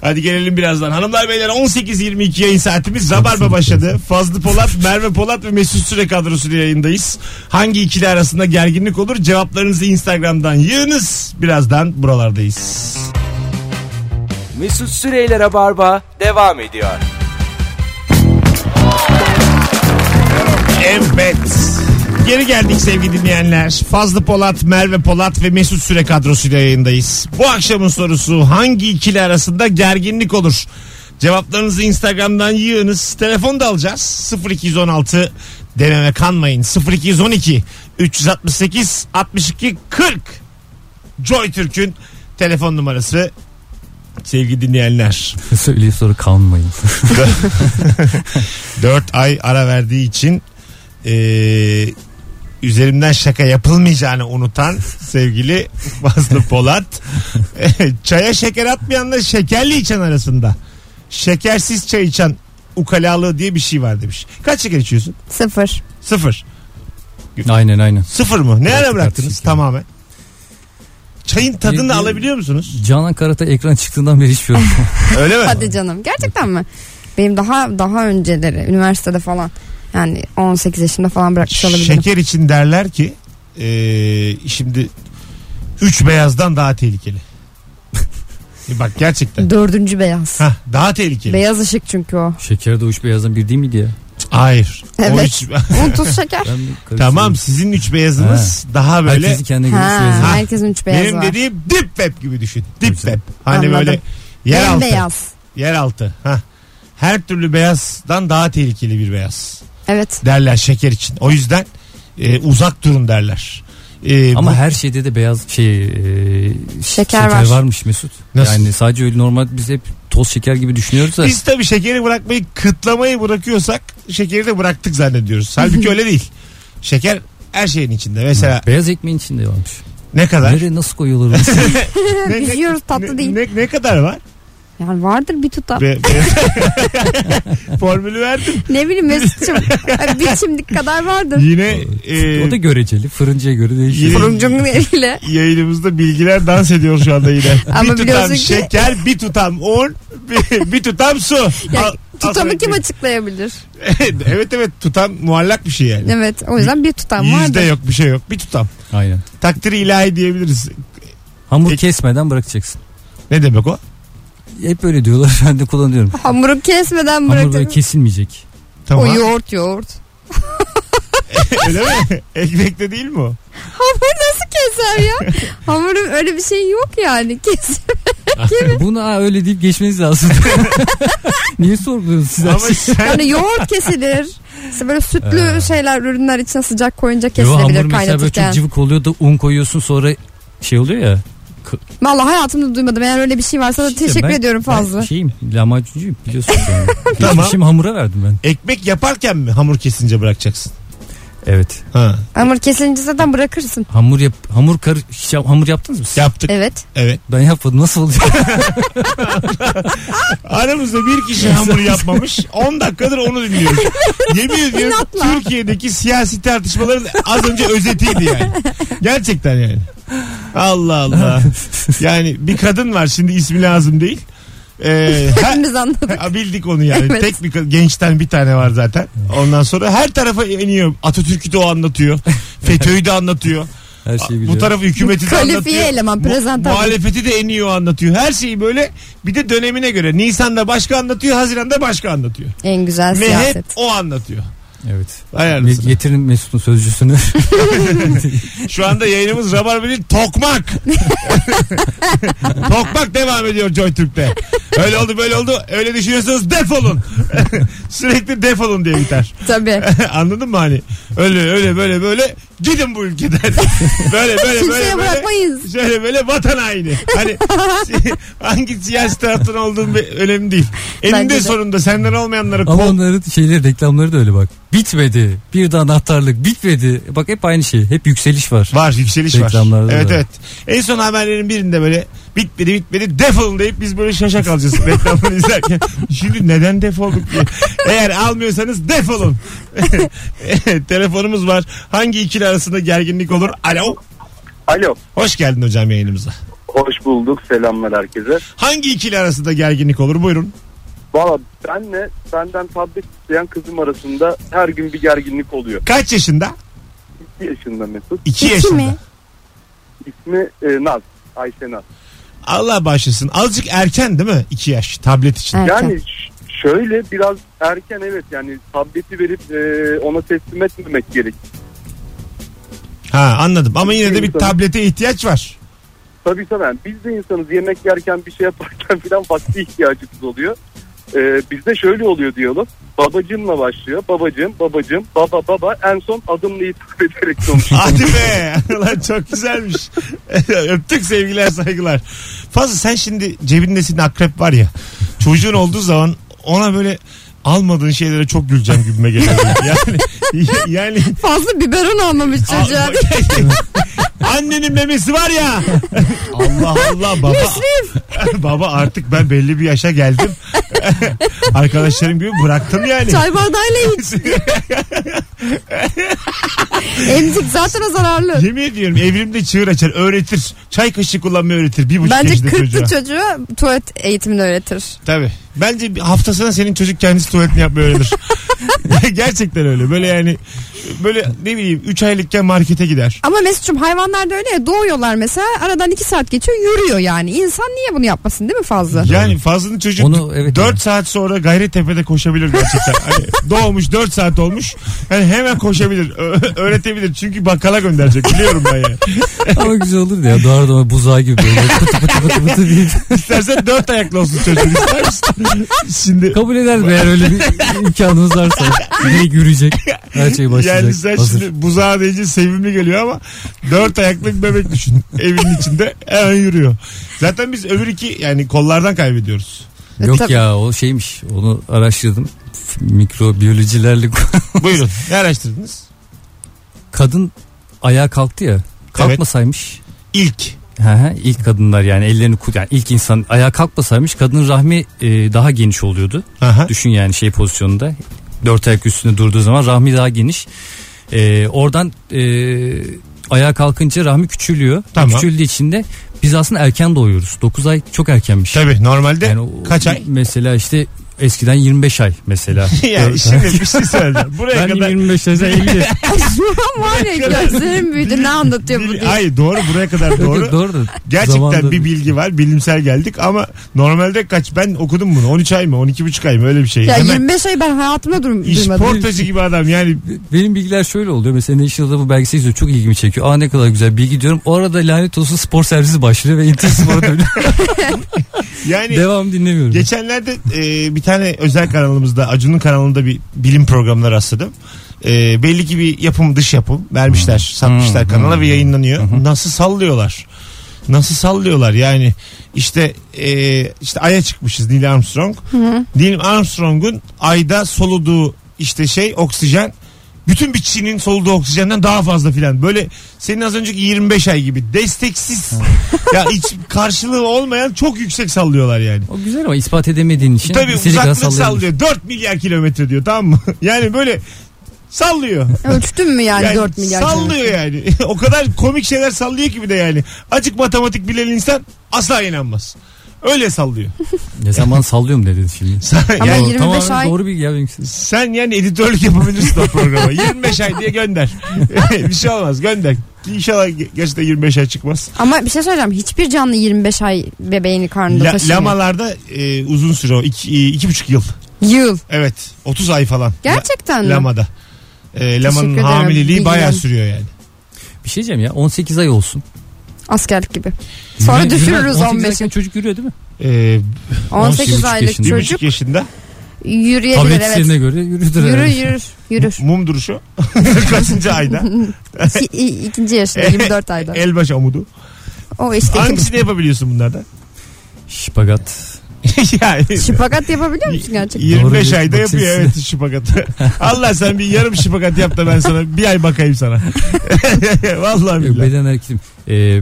Speaker 2: hadi gelelim birazdan. Hanımlar beyler 18.22 yayın saatimiz Rabarba başladı. Fazlı Polat, Merve Polat ve Mesut Süre kadrosuyla yayındayız. Hangi ikili arasında gerginlik olur? Cevaplarınızı Instagram'dan yığınız. Birazdan buralardayız.
Speaker 1: Mesut Süreyler'e barba devam ediyor.
Speaker 2: Evet. Geri geldik sevgili dinleyenler. Fazlı Polat, Merve Polat ve Mesut Süre kadrosuyla yayındayız. Bu akşamın sorusu hangi ikili arasında gerginlik olur? Cevaplarınızı Instagram'dan yığınız. Telefon da alacağız. 0216 deneme kanmayın. 0212 368 62 40 Joy Türk'ün telefon numarası. Sevgili dinleyenler.
Speaker 4: Söyleyip sonra kalmayın.
Speaker 2: 4 ay ara verdiği için eee, üzerimden şaka yapılmayacağını unutan sevgili Fazlı Polat çaya şeker atmayanla şekerli içen arasında şekersiz çay içen ukalalığı diye bir şey var demiş. Kaç şeker içiyorsun?
Speaker 3: Sıfır.
Speaker 2: Sıfır.
Speaker 4: aynen aynen.
Speaker 2: Sıfır mı? Ne ara
Speaker 4: Artık
Speaker 2: bıraktınız
Speaker 4: şeker.
Speaker 2: tamamen? Çayın tadını da
Speaker 4: Bildiğin-
Speaker 2: alabiliyor musunuz?
Speaker 4: Canan Karata ekran çıktığından beri içmiyorum.
Speaker 2: Öyle mi?
Speaker 3: Hadi canım. Gerçekten mi? Benim daha daha önceleri üniversitede falan yani 18 yaşında falan bırakmış olabilirim.
Speaker 2: Şeker için derler ki eee, şimdi üç beyazdan daha tehlikeli. E Bak gerçekten.
Speaker 3: Dördüncü beyaz.
Speaker 2: Hah, daha tehlikeli.
Speaker 3: Beyaz ışık çünkü o.
Speaker 4: Şeker de uç beyazdan bir değil miydi ya?
Speaker 2: Hayır. O
Speaker 3: Evet.
Speaker 2: üç,
Speaker 3: Un tuz şeker.
Speaker 4: Ben mi karıştırdım?
Speaker 2: tamam sizin üç beyazınız daha böyle
Speaker 4: Herkesin kendine göre
Speaker 3: ha,
Speaker 4: beyazı var.
Speaker 3: herkesin üç beyazı
Speaker 2: benim
Speaker 3: var.
Speaker 2: dediğim dip web gibi düşün. Dip
Speaker 4: Güzel.
Speaker 2: web. Hani
Speaker 3: Anladım.
Speaker 2: böyle yer
Speaker 3: Benim
Speaker 2: altı.
Speaker 3: beyaz.
Speaker 2: Yer altı. Hah. Her türlü beyazdan daha tehlikeli bir beyaz
Speaker 3: Evet.
Speaker 2: derler şeker için. O yüzden e, uzak durun derler. E,
Speaker 4: Ama
Speaker 2: bu-
Speaker 4: her şeyde de beyaz şey e, şeker,
Speaker 3: var.
Speaker 4: varmış Mesut.
Speaker 2: Nasıl?
Speaker 4: Yani sadece öyle normal biz hep toz şeker gibi düşünüyoruz da.
Speaker 2: Biz tabii şekeri bırakmayı kıtlamayı bırakıyorsak şekeri de bıraktık zannediyoruz. Halbuki öyle değil. Şeker her şeyin içinde. Mesela
Speaker 4: Beyaz ekmeğin içinde varmış.
Speaker 2: ne kadar?
Speaker 4: Nereye nasıl koyuyorlar? onu?
Speaker 2: Ne,
Speaker 3: Biz
Speaker 2: ne-
Speaker 3: yiyoruz tatlı
Speaker 2: ne-
Speaker 3: değil.
Speaker 2: Ne, ne kadar var?
Speaker 3: Yani vardır bir tutam.
Speaker 2: Be- be- Formülü verdim.
Speaker 3: Ne bileyim Mesut'cum. Ay, bir çimdik kadar vardır.
Speaker 2: Yine e,
Speaker 4: o da göreceli. Fırıncıya göre değişiyor.
Speaker 2: Yine-
Speaker 3: Fırıncının eliyle.
Speaker 2: yayınımızda bilgiler dans ediyor şu anda yine.
Speaker 3: Ama
Speaker 2: bir tutam
Speaker 3: biliyorsun ki-
Speaker 2: şeker, bir tutam un, bir, bir tutam su.
Speaker 3: Ya,
Speaker 2: Al-
Speaker 3: tutamı
Speaker 2: al-
Speaker 3: kim açıklayabilir?
Speaker 2: evet evet tutam muallak bir şey yani.
Speaker 3: Evet o yüzden bir tutam
Speaker 2: Yüzde
Speaker 3: vardır.
Speaker 2: yok bir şey yok. Bir tutam.
Speaker 4: Aynen.
Speaker 2: Takdiri ilahi diyebiliriz.
Speaker 4: Hamur
Speaker 2: Peki.
Speaker 4: kesmeden bırakacaksın.
Speaker 2: Ne demek o?
Speaker 4: hep öyle diyorlar. Ben de kullanıyorum.
Speaker 3: Hamuru kesmeden
Speaker 4: Hamur böyle
Speaker 3: bırakın.
Speaker 4: kesilmeyecek.
Speaker 2: Tamam.
Speaker 3: O yoğurt yoğurt.
Speaker 2: Öyle mi? Ekmekte değil mi o?
Speaker 3: Hamur nasıl keser ya? Hamurun öyle bir şey yok yani. Kes.
Speaker 4: Bunu ha, öyle deyip geçmeniz lazım. Niye sorguluyorsunuz siz her
Speaker 2: Ama
Speaker 4: şeyi?
Speaker 2: sen
Speaker 3: Yani yoğurt kesilir. İşte böyle sütlü şeyler ürünler içine sıcak koyunca
Speaker 4: Ee. Yo, hamur
Speaker 3: kesilebilir
Speaker 4: mesela böyle çok
Speaker 3: kaynatırken.
Speaker 4: cıvık oluyor da un koyuyorsun sonra şey oluyor ya.
Speaker 3: Vallahi hayatımda duymadım. Eğer öyle bir şey varsa da
Speaker 4: İşte
Speaker 3: teşekkür
Speaker 4: ben- şey-
Speaker 3: ediyorum fazla.
Speaker 4: Ben şeyim lamacuncuyum biliyorsun. Yani.
Speaker 2: Tamam.
Speaker 4: tamam. Şimdi hamura verdim ben.
Speaker 2: ekmek yaparken mi hamur kesince bırakacaksın?
Speaker 4: Evet.
Speaker 2: Ha.
Speaker 3: Hamur kesilince zaten bırakırsın.
Speaker 4: Hamur yap hamur kar hiç yap- hamur yaptınız mı? siz?
Speaker 2: Yaptık.
Speaker 3: Evet.
Speaker 2: Evet.
Speaker 4: Ben yapmadım. Nasıl oluyor?
Speaker 2: Aramızda bir kişi hamur yapmamış. 10 dakikadır onu dinliyoruz. Yemin ediyorum
Speaker 3: İnatla.
Speaker 2: Türkiye'deki siyasi tartışmaların az önce özetiydi yani. Gerçekten yani. Allah Allah. Yani bir kadın var şimdi ismi lazım değil. Ee, her-
Speaker 3: Hepimiz anladık.
Speaker 2: Ha, bildik onu yani.
Speaker 3: Evet.
Speaker 2: Tek bir kız- gençten bir tane var zaten. Ondan sonra her tarafa iniyor. Atatürk'ü de o anlatıyor. FETÖ'yü de anlatıyor.
Speaker 4: Her şeyi
Speaker 2: Bu
Speaker 4: biliyorum.
Speaker 2: tarafı hükümeti de
Speaker 3: Kalifiye
Speaker 2: anlatıyor.
Speaker 3: eleman,
Speaker 2: Mu-
Speaker 3: prezentasyon.
Speaker 2: Muhalefeti de eniyor anlatıyor. Her şeyi böyle bir de dönemine göre. Nisan'da başka anlatıyor, Haziran'da başka anlatıyor.
Speaker 3: En güzel
Speaker 2: Ve hep
Speaker 3: siyaset.
Speaker 2: o anlatıyor.
Speaker 4: Evet.
Speaker 2: Vay
Speaker 4: Me-
Speaker 2: anasını.
Speaker 4: Getirin Mesut'un sözcüsünü.
Speaker 2: Şu anda yayınımız Rabarbeli Tokmak. Tokmak devam ediyor Joy Türk'te. Öyle oldu böyle oldu. Öyle düşünüyorsanız defolun. Sürekli defolun diye biter.
Speaker 3: Tabii.
Speaker 2: Anladın mı hani? Öyle öyle böyle böyle gidin bu ülkeden. böyle böyle böyle
Speaker 3: Kimseye
Speaker 2: böyle.
Speaker 3: bırakmayız.
Speaker 2: Şöyle böyle vatan haini. Hani si- hangi siyasi taraftan olduğun be- önemli değil.
Speaker 3: Bence
Speaker 2: Eninde
Speaker 3: de.
Speaker 2: sonunda senden olmayanları
Speaker 4: Ama
Speaker 2: kov.
Speaker 4: onların şeyleri reklamları da öyle bak. Bitmedi. Bir de anahtarlık bitmedi. Bak hep aynı şey. Hep yükseliş var.
Speaker 2: Var yükseliş var.
Speaker 4: Reklamlarda
Speaker 2: Evet
Speaker 4: da.
Speaker 2: evet. En son haberlerin birinde böyle bitmedi bitmedi defolun deyip biz böyle şaşa kalacağız reklamını izlerken. Şimdi neden defolduk diye. Eğer almıyorsanız defolun. Telefonumuz var. Hangi ikili arasında gerginlik olur? Alo.
Speaker 5: Alo.
Speaker 2: Hoş geldin hocam yayınımıza.
Speaker 5: Hoş bulduk. Selamlar herkese.
Speaker 2: Hangi ikili arasında gerginlik olur? Buyurun.
Speaker 5: Valla benle benden tablet isteyen kızım arasında her gün bir gerginlik oluyor.
Speaker 2: Kaç yaşında?
Speaker 5: 2 yaşında Mesut.
Speaker 2: 2
Speaker 3: İki
Speaker 2: yaşında.
Speaker 3: mi?
Speaker 5: İsmi e, Naz. Ayşe Naz.
Speaker 2: Allah bağışlasın. Azıcık erken değil mi? 2 yaş tablet için.
Speaker 3: Evet. Erken.
Speaker 5: Yani ş- şöyle biraz erken evet yani tableti verip e, ona teslim etmemek gerek.
Speaker 2: Ha anladım. Ama yine de bir
Speaker 5: İnsan.
Speaker 2: tablete ihtiyaç var.
Speaker 5: Tabii tabii biz de insanız yemek yerken bir şey yaparken filan vakti ihtiyacımız oluyor. E, bizde şöyle oluyor diyelim. Babacımla başlıyor. Babacım, babacım, baba, baba. En son adımla hitap ederek konuşuyor.
Speaker 2: Hadi be. Lan çok güzelmiş. Öptük sevgiler saygılar. Fazla sen şimdi cebinde senin akrep var ya. Çocuğun olduğu zaman ona böyle almadığın şeylere çok güleceğim gibime geliyor. Yani, yani
Speaker 3: Fazla biberon almamış çocuğa.
Speaker 2: Al- Annenin memesi var ya. Allah Allah baba. baba artık ben belli bir yaşa geldim. Arkadaşlarım gibi bıraktım yani.
Speaker 3: Çay bardağıyla iç. Emzik zaten o zararlı.
Speaker 2: Yemin ediyorum evrimde çığır açar öğretir. Çay kaşığı kullanmayı öğretir. Bir buçuk
Speaker 3: Bence
Speaker 2: yaşında
Speaker 3: kırklı
Speaker 2: çocuğa.
Speaker 3: çocuğa tuvalet eğitimini öğretir.
Speaker 2: Tabii. Bence bir haftasına senin çocuk kendisi tuvaletini yapmayı öğrenir. Gerçekten öyle. Böyle yani böyle ne bileyim 3 aylıkken markete gider.
Speaker 3: Ama Mesut'cum hayvanlar da öyle ya doğuyorlar mesela aradan iki saat geçiyor yürüyor yani. İnsan niye bunu yapmasın değil mi fazla?
Speaker 2: Yani Fazlı'nın çocuğu
Speaker 4: Onu, evet,
Speaker 2: 4
Speaker 4: evet.
Speaker 2: saat sonra Gayrettepe'de koşabilir gerçekten. Hani doğmuş 4 saat olmuş. Yani hemen koşabilir. Ö- öğretebilir. Çünkü bakkala gönderecek. Biliyorum ben yani.
Speaker 4: Ama güzel olur ya. Doğar doğar buzağı gibi böyle pıtı pıtı pıtı pıtı diye.
Speaker 2: İstersen 4 ayaklı olsun çocuğun. İster misin? Şimdi
Speaker 4: Kabul eder mi eğer öyle bir imkanımız varsa? Direkt yürüyecek. Her şey başlayacak.
Speaker 2: yani sen
Speaker 4: Hazır.
Speaker 2: şimdi buzağa deyince sevimli geliyor ama dört ayaklı bir bebek düşün. Evin içinde hemen yürüyor. Zaten biz öbür iki yani kollardan kaybediyoruz.
Speaker 4: Yok
Speaker 3: Tabii.
Speaker 4: ya o şeymiş. Onu araştırdım. Mikrobiyolojilerle
Speaker 2: Buyurun. Ne araştırdınız?
Speaker 4: kadın ayağa kalktı ya. Kalkmasaymış.
Speaker 2: İlk.
Speaker 4: Hı hı, ilk kadınlar yani ellerini ku- yani ilk insan ayağa kalkmasaymış kadının rahmi e, daha geniş oluyordu.
Speaker 2: Aha.
Speaker 4: Düşün yani şey pozisyonunda. Dört ayak üstünde durduğu zaman rahmi daha geniş. Ee, oradan e, ayağa kalkınca rahmi küçülüyor.
Speaker 2: Tamam.
Speaker 4: Küçüldüğü için de biz aslında erken doğuyoruz. 9 ay çok erkenmiş.
Speaker 2: Tabii normalde
Speaker 4: Yani o-
Speaker 2: kaç ay?
Speaker 4: Mesela işte eskiden 25 ay mesela.
Speaker 2: yani şimdi bir şey söyleyeceğim. Buraya
Speaker 4: ben
Speaker 2: kadar
Speaker 4: 25 ay sen 50.
Speaker 3: Şu an var ya gözlerim büyüdü ne anlatıyor bu
Speaker 2: Bil-
Speaker 3: diye.
Speaker 2: Ay doğru buraya kadar
Speaker 4: Doğru.
Speaker 2: doğru.
Speaker 4: Doğru da
Speaker 2: Gerçekten
Speaker 4: zamanda-
Speaker 2: bir bilgi var. Bilimsel geldik ama normalde kaç ben okudum bunu. 13 ay mı 12 buçuk ay mı öyle bir şey.
Speaker 3: Ya
Speaker 2: Hemen
Speaker 3: 25 ay ben hayatımda durum,
Speaker 2: iş
Speaker 3: duymadım.
Speaker 2: portacı gibi adam yani
Speaker 4: Benim bilgiler şöyle oluyor. Mesela National'da bu belgesel izliyorum. Çok ilgimi çekiyor. Aa ne kadar güzel bilgi diyorum. O arada lanet olsun spor servisi başlıyor ve İnter Spor'a dönüyor.
Speaker 2: yani
Speaker 4: Devam dinlemiyorum.
Speaker 2: Geçenlerde e, bir tane özel kanalımızda Acun'un kanalında bir bilim programına rastladım. E, belli ki bir yapım dış yapım vermişler satmışlar kanala ve yayınlanıyor. Nasıl sallıyorlar? Nasıl sallıyorlar yani işte e, işte Ay'a çıkmışız Neil Armstrong. Neil Armstrong'un Ay'da soluduğu işte şey oksijen bütün bitkinin soluduğu oksijenden daha fazla filan. Böyle senin az önceki 25 ay gibi desteksiz ya hiç karşılığı olmayan çok yüksek sallıyorlar yani.
Speaker 4: O güzel ama ispat edemediğin için.
Speaker 2: Tabii
Speaker 4: istediği kadar
Speaker 2: uzaklık
Speaker 4: sallayabilirsin.
Speaker 2: sallıyor. 4 milyar kilometre diyor tamam mı? Yani böyle sallıyor.
Speaker 3: Ölçtün mü yani,
Speaker 2: Yani
Speaker 3: 4 milyar?
Speaker 2: sallıyor yani. o kadar komik şeyler sallıyor ki bir de yani. Acık matematik bilen insan asla inanmaz. Öyle sallıyor.
Speaker 4: Ne zaman sallıyorum dedin şimdi.
Speaker 2: Sen,
Speaker 3: Ama
Speaker 2: yani,
Speaker 3: 25
Speaker 4: Tamamen
Speaker 3: ay.
Speaker 4: doğru bilgi ya benimkisi.
Speaker 2: sen yani editörlük yapabilirsin o programa. 25 ay diye gönder. bir şey olmaz gönder. İnşallah ge- gerçekten 25 ay çıkmaz.
Speaker 3: Ama bir şey söyleyeceğim. Hiçbir canlı 25 ay bebeğini karnında
Speaker 2: La-
Speaker 3: taşımıyor.
Speaker 2: lamalarda e, uzun süre o. 2,5 yıl.
Speaker 3: Yıl.
Speaker 2: Evet 30 ay falan. La-
Speaker 3: Gerçekten mi?
Speaker 2: Lamada. E, lamanın
Speaker 3: ederim.
Speaker 2: hamileliği bayağı
Speaker 3: Bilgilen-
Speaker 2: sürüyor yani.
Speaker 4: Bir şey diyeceğim ya 18 ay olsun.
Speaker 3: Askerlik gibi. Sonra
Speaker 4: Yürü-
Speaker 3: düşürürüz
Speaker 4: yürümez. 18
Speaker 3: 15
Speaker 4: ayken çocuk yürüyor değil mi?
Speaker 2: Ee,
Speaker 3: 18
Speaker 4: 18
Speaker 3: aylık
Speaker 4: yaşında.
Speaker 2: bir
Speaker 3: çocuk
Speaker 2: buçuk yaşında
Speaker 3: yürüyebilir
Speaker 4: Tablet
Speaker 3: evet.
Speaker 4: istediğine göre yürüdür.
Speaker 3: Yürür
Speaker 4: herhalde.
Speaker 3: yürür yürür.
Speaker 2: mum duruşu kaçıncı ayda
Speaker 3: İki, i- ikinci yaşında 24 ayda.
Speaker 2: el baş amudu
Speaker 3: O işte ikinci.
Speaker 2: hangisini yapabiliyorsun bunlardan
Speaker 4: Şipagat.
Speaker 2: yani
Speaker 4: şey?
Speaker 3: Şipakat yapabiliyor musun gerçekten?
Speaker 2: 25
Speaker 4: Doğru
Speaker 2: ayda
Speaker 4: diyorsun,
Speaker 2: yapıyor
Speaker 4: bakayım
Speaker 2: evet şıpakatı Allah sen bir yarım şıpakat yap da ben sana bir ay bakayım sana vallahi
Speaker 4: Yok,
Speaker 2: billahi
Speaker 4: beden hareketim. Ee,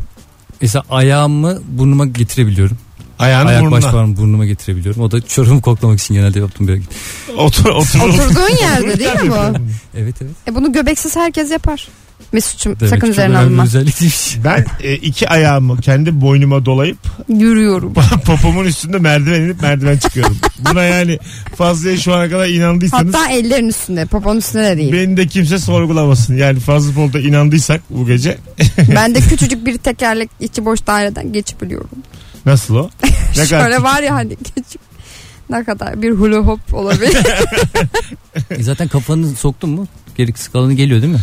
Speaker 4: mesela ayağımı burnuma getirebiliyorum.
Speaker 2: ayağını
Speaker 4: Ayak baş
Speaker 2: burnuna
Speaker 4: parmağımı burnuma getirebiliyorum. O da çorumu koklamak için genelde yaptığım bir hareket.
Speaker 2: otur otur
Speaker 3: Oturduğun yerde değil mi bu?
Speaker 4: Evet evet.
Speaker 3: E bunu göbeksiz herkes yapar. Mesut'cum
Speaker 4: Demek
Speaker 3: sakın
Speaker 4: ki çok
Speaker 3: üzerine
Speaker 4: önemli
Speaker 3: alınma.
Speaker 4: özellik değilmiş.
Speaker 2: ben e, iki ayağımı kendi boynuma dolayıp
Speaker 3: Yürüyorum.
Speaker 2: popomun üstünde merdiven inip merdiven çıkıyorum. Buna yani fazla şu ana kadar inandıysanız
Speaker 3: Hatta ellerin üstünde, poponun üstünde de değil.
Speaker 2: Beni de kimse sorgulamasın. Yani fazla Polat'a inandıysak bu gece.
Speaker 3: ben de küçücük bir tekerlek içi boş daireden geçebiliyorum.
Speaker 2: Nasıl o? Ne kadar
Speaker 3: Şöyle var ya hani küçük. Ne kadar bir hula hop olabilir.
Speaker 4: E zaten kafanı soktun mu? Geri kısık alanı geliyor değil mi?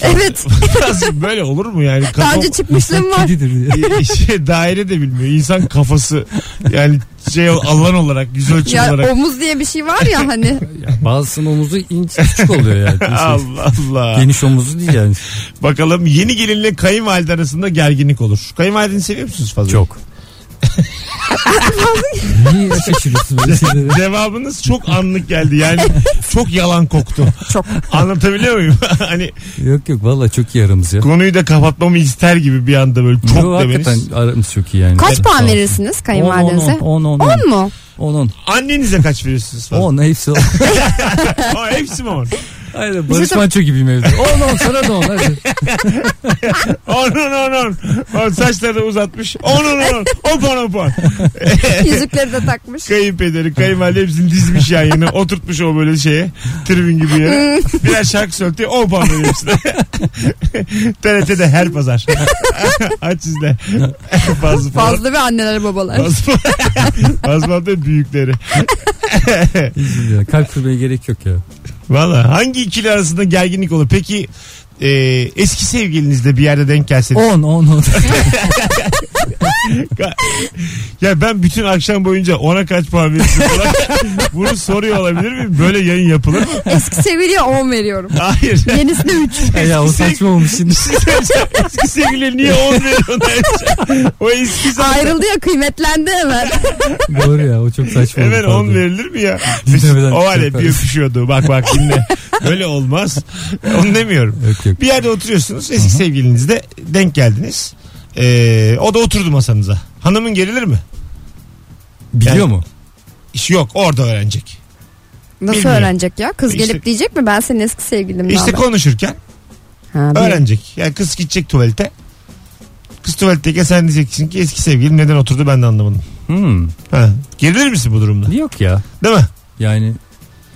Speaker 3: evet.
Speaker 2: Nasıl böyle olur mu yani?
Speaker 3: Daha
Speaker 2: Kafa,
Speaker 3: önce çıkmışlığım var.
Speaker 4: Kedidir ya.
Speaker 2: şey, daire de bilmiyor. İnsan kafası yani şey alan olarak yüz ölçüm
Speaker 3: Ya
Speaker 2: olarak.
Speaker 3: omuz diye bir şey var ya hani.
Speaker 4: ya bazısının omuzu inç küçük oluyor yani. Kimse-
Speaker 2: Allah Allah.
Speaker 4: Geniş omuzu değil yani.
Speaker 2: Bakalım yeni gelinle kayınvalide arasında gerginlik olur. Kayınvalideni seviyor musunuz fazla?
Speaker 4: Çok. Niye şaşırıyorsun böyle şeylere?
Speaker 2: Cevabınız çok anlık geldi. Yani çok yalan koktu.
Speaker 3: Çok.
Speaker 2: Anlatabiliyor muyum? hani
Speaker 4: Yok yok valla çok iyi aramız ya.
Speaker 2: konuyu da kapatmamı ister gibi bir anda böyle çok
Speaker 4: Yo,
Speaker 2: demeniz.
Speaker 4: hakikaten aramız çok iyi yani.
Speaker 3: Kaç
Speaker 4: Evet,
Speaker 3: puan
Speaker 4: sağ olsun.
Speaker 3: verirsiniz kayınvalidenize?
Speaker 4: 10 10
Speaker 3: 10 mu?
Speaker 4: 10 10
Speaker 2: Annenize kaç veriyorsunuz fazla?
Speaker 4: 10 hepsi 10.
Speaker 2: Aa, hepsi mi var?
Speaker 4: Aynen Barış Manço gibiyim evde. 10 10 sana da 10 hadi.
Speaker 2: On on on on. on saçları da uzatmış. On on on. Opan opan.
Speaker 3: Yüzükleri de takmış.
Speaker 2: Kayınpederi, kayınvalide hepsini dizmiş yan yana. Oturtmuş o böyle şeye. Tribün gibi yere. Birer şarkı söyletiyor. Opan böyle hepsine. TRT'de her pazar. Aç izle. Fazla fazla.
Speaker 3: Fazla ve anneler babalar.
Speaker 2: Fazla da büyükleri.
Speaker 4: Üzüldüm ya. Kalp kırmaya gerek yok ya.
Speaker 2: Valla hangi ikili arasında gerginlik olur? Peki e, eski sevgilinizle bir yerde denk gelseniz.
Speaker 4: 10 10 10.
Speaker 2: Ya ben bütün akşam boyunca ona kaç puan verirsin falan bunu soruyor olabilir miyim? Böyle yayın yapılır mı?
Speaker 3: Eski sevgiliye 10 veriyorum.
Speaker 2: Hayır.
Speaker 3: Yenisine 3.
Speaker 4: ya o
Speaker 2: Şey-
Speaker 4: saçma olmuş şimdi.
Speaker 2: eski sevgili niye 10 veriyorsun? O eski zaten.
Speaker 3: Ayrıldı ya kıymetlendi hemen.
Speaker 4: Doğru ya o çok saçma oldu.
Speaker 2: Hemen 10
Speaker 4: pardon.
Speaker 2: verilir mi ya?
Speaker 4: Dinlemeden
Speaker 2: o var ya
Speaker 4: çok
Speaker 2: bir öpüşüyordu. Bak bak dinle. Öyle olmaz. Onu demiyorum.
Speaker 4: Yok yok.
Speaker 2: Bir yerde oturuyorsunuz. Eski sevgilinizle denk geldiniz. Ee, o da oturdu masanıza. Hanımın gerilir mi?
Speaker 4: Biliyor
Speaker 2: Yani-
Speaker 4: mu?
Speaker 2: İş yok orada öğrenecek.
Speaker 3: Nasıl
Speaker 2: Bilmiyorum.
Speaker 3: öğrenecek ya? Kız
Speaker 2: İşte-
Speaker 3: gelip diyecek mi ben senin eski sevgilimden?
Speaker 2: İşte konuşurken Öğrenecek. Yani kız gidecek tuvalete. Kız tuvaletteyken sen diyeceksin ki eski sevgilim neden oturdu ben de anlamadım.
Speaker 4: Hmm.
Speaker 2: Ha. Gerilir misin bu durumda?
Speaker 4: Yok ya.
Speaker 2: Değil mi?
Speaker 4: Yani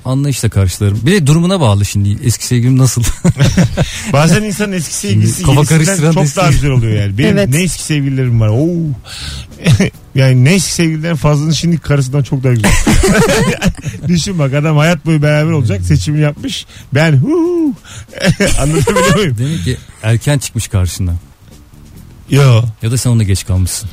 Speaker 4: anlayışla karşılarım. Bir de durumuna bağlı şimdi. Eski sevgilim nasıl?
Speaker 2: Bazen insanın eski sevgilisi
Speaker 4: Kafa
Speaker 2: yenisinden
Speaker 4: karıştıran
Speaker 2: çok
Speaker 4: eski-
Speaker 2: daha güzel oluyor yani. Benim
Speaker 3: Evet.
Speaker 2: ne eski sevgililerim var. Oo. yani ne eski sevgililerin fazlının şimdi karısından çok daha güzel. Düşün bak adam hayat boyu beraber olacak seçimini yapmış. Ben huu. Anlatabiliyor muyum?
Speaker 4: Demek ki erken çıkmış karşına.
Speaker 2: Yo.
Speaker 4: Ya da sen ona geç kalmışsın.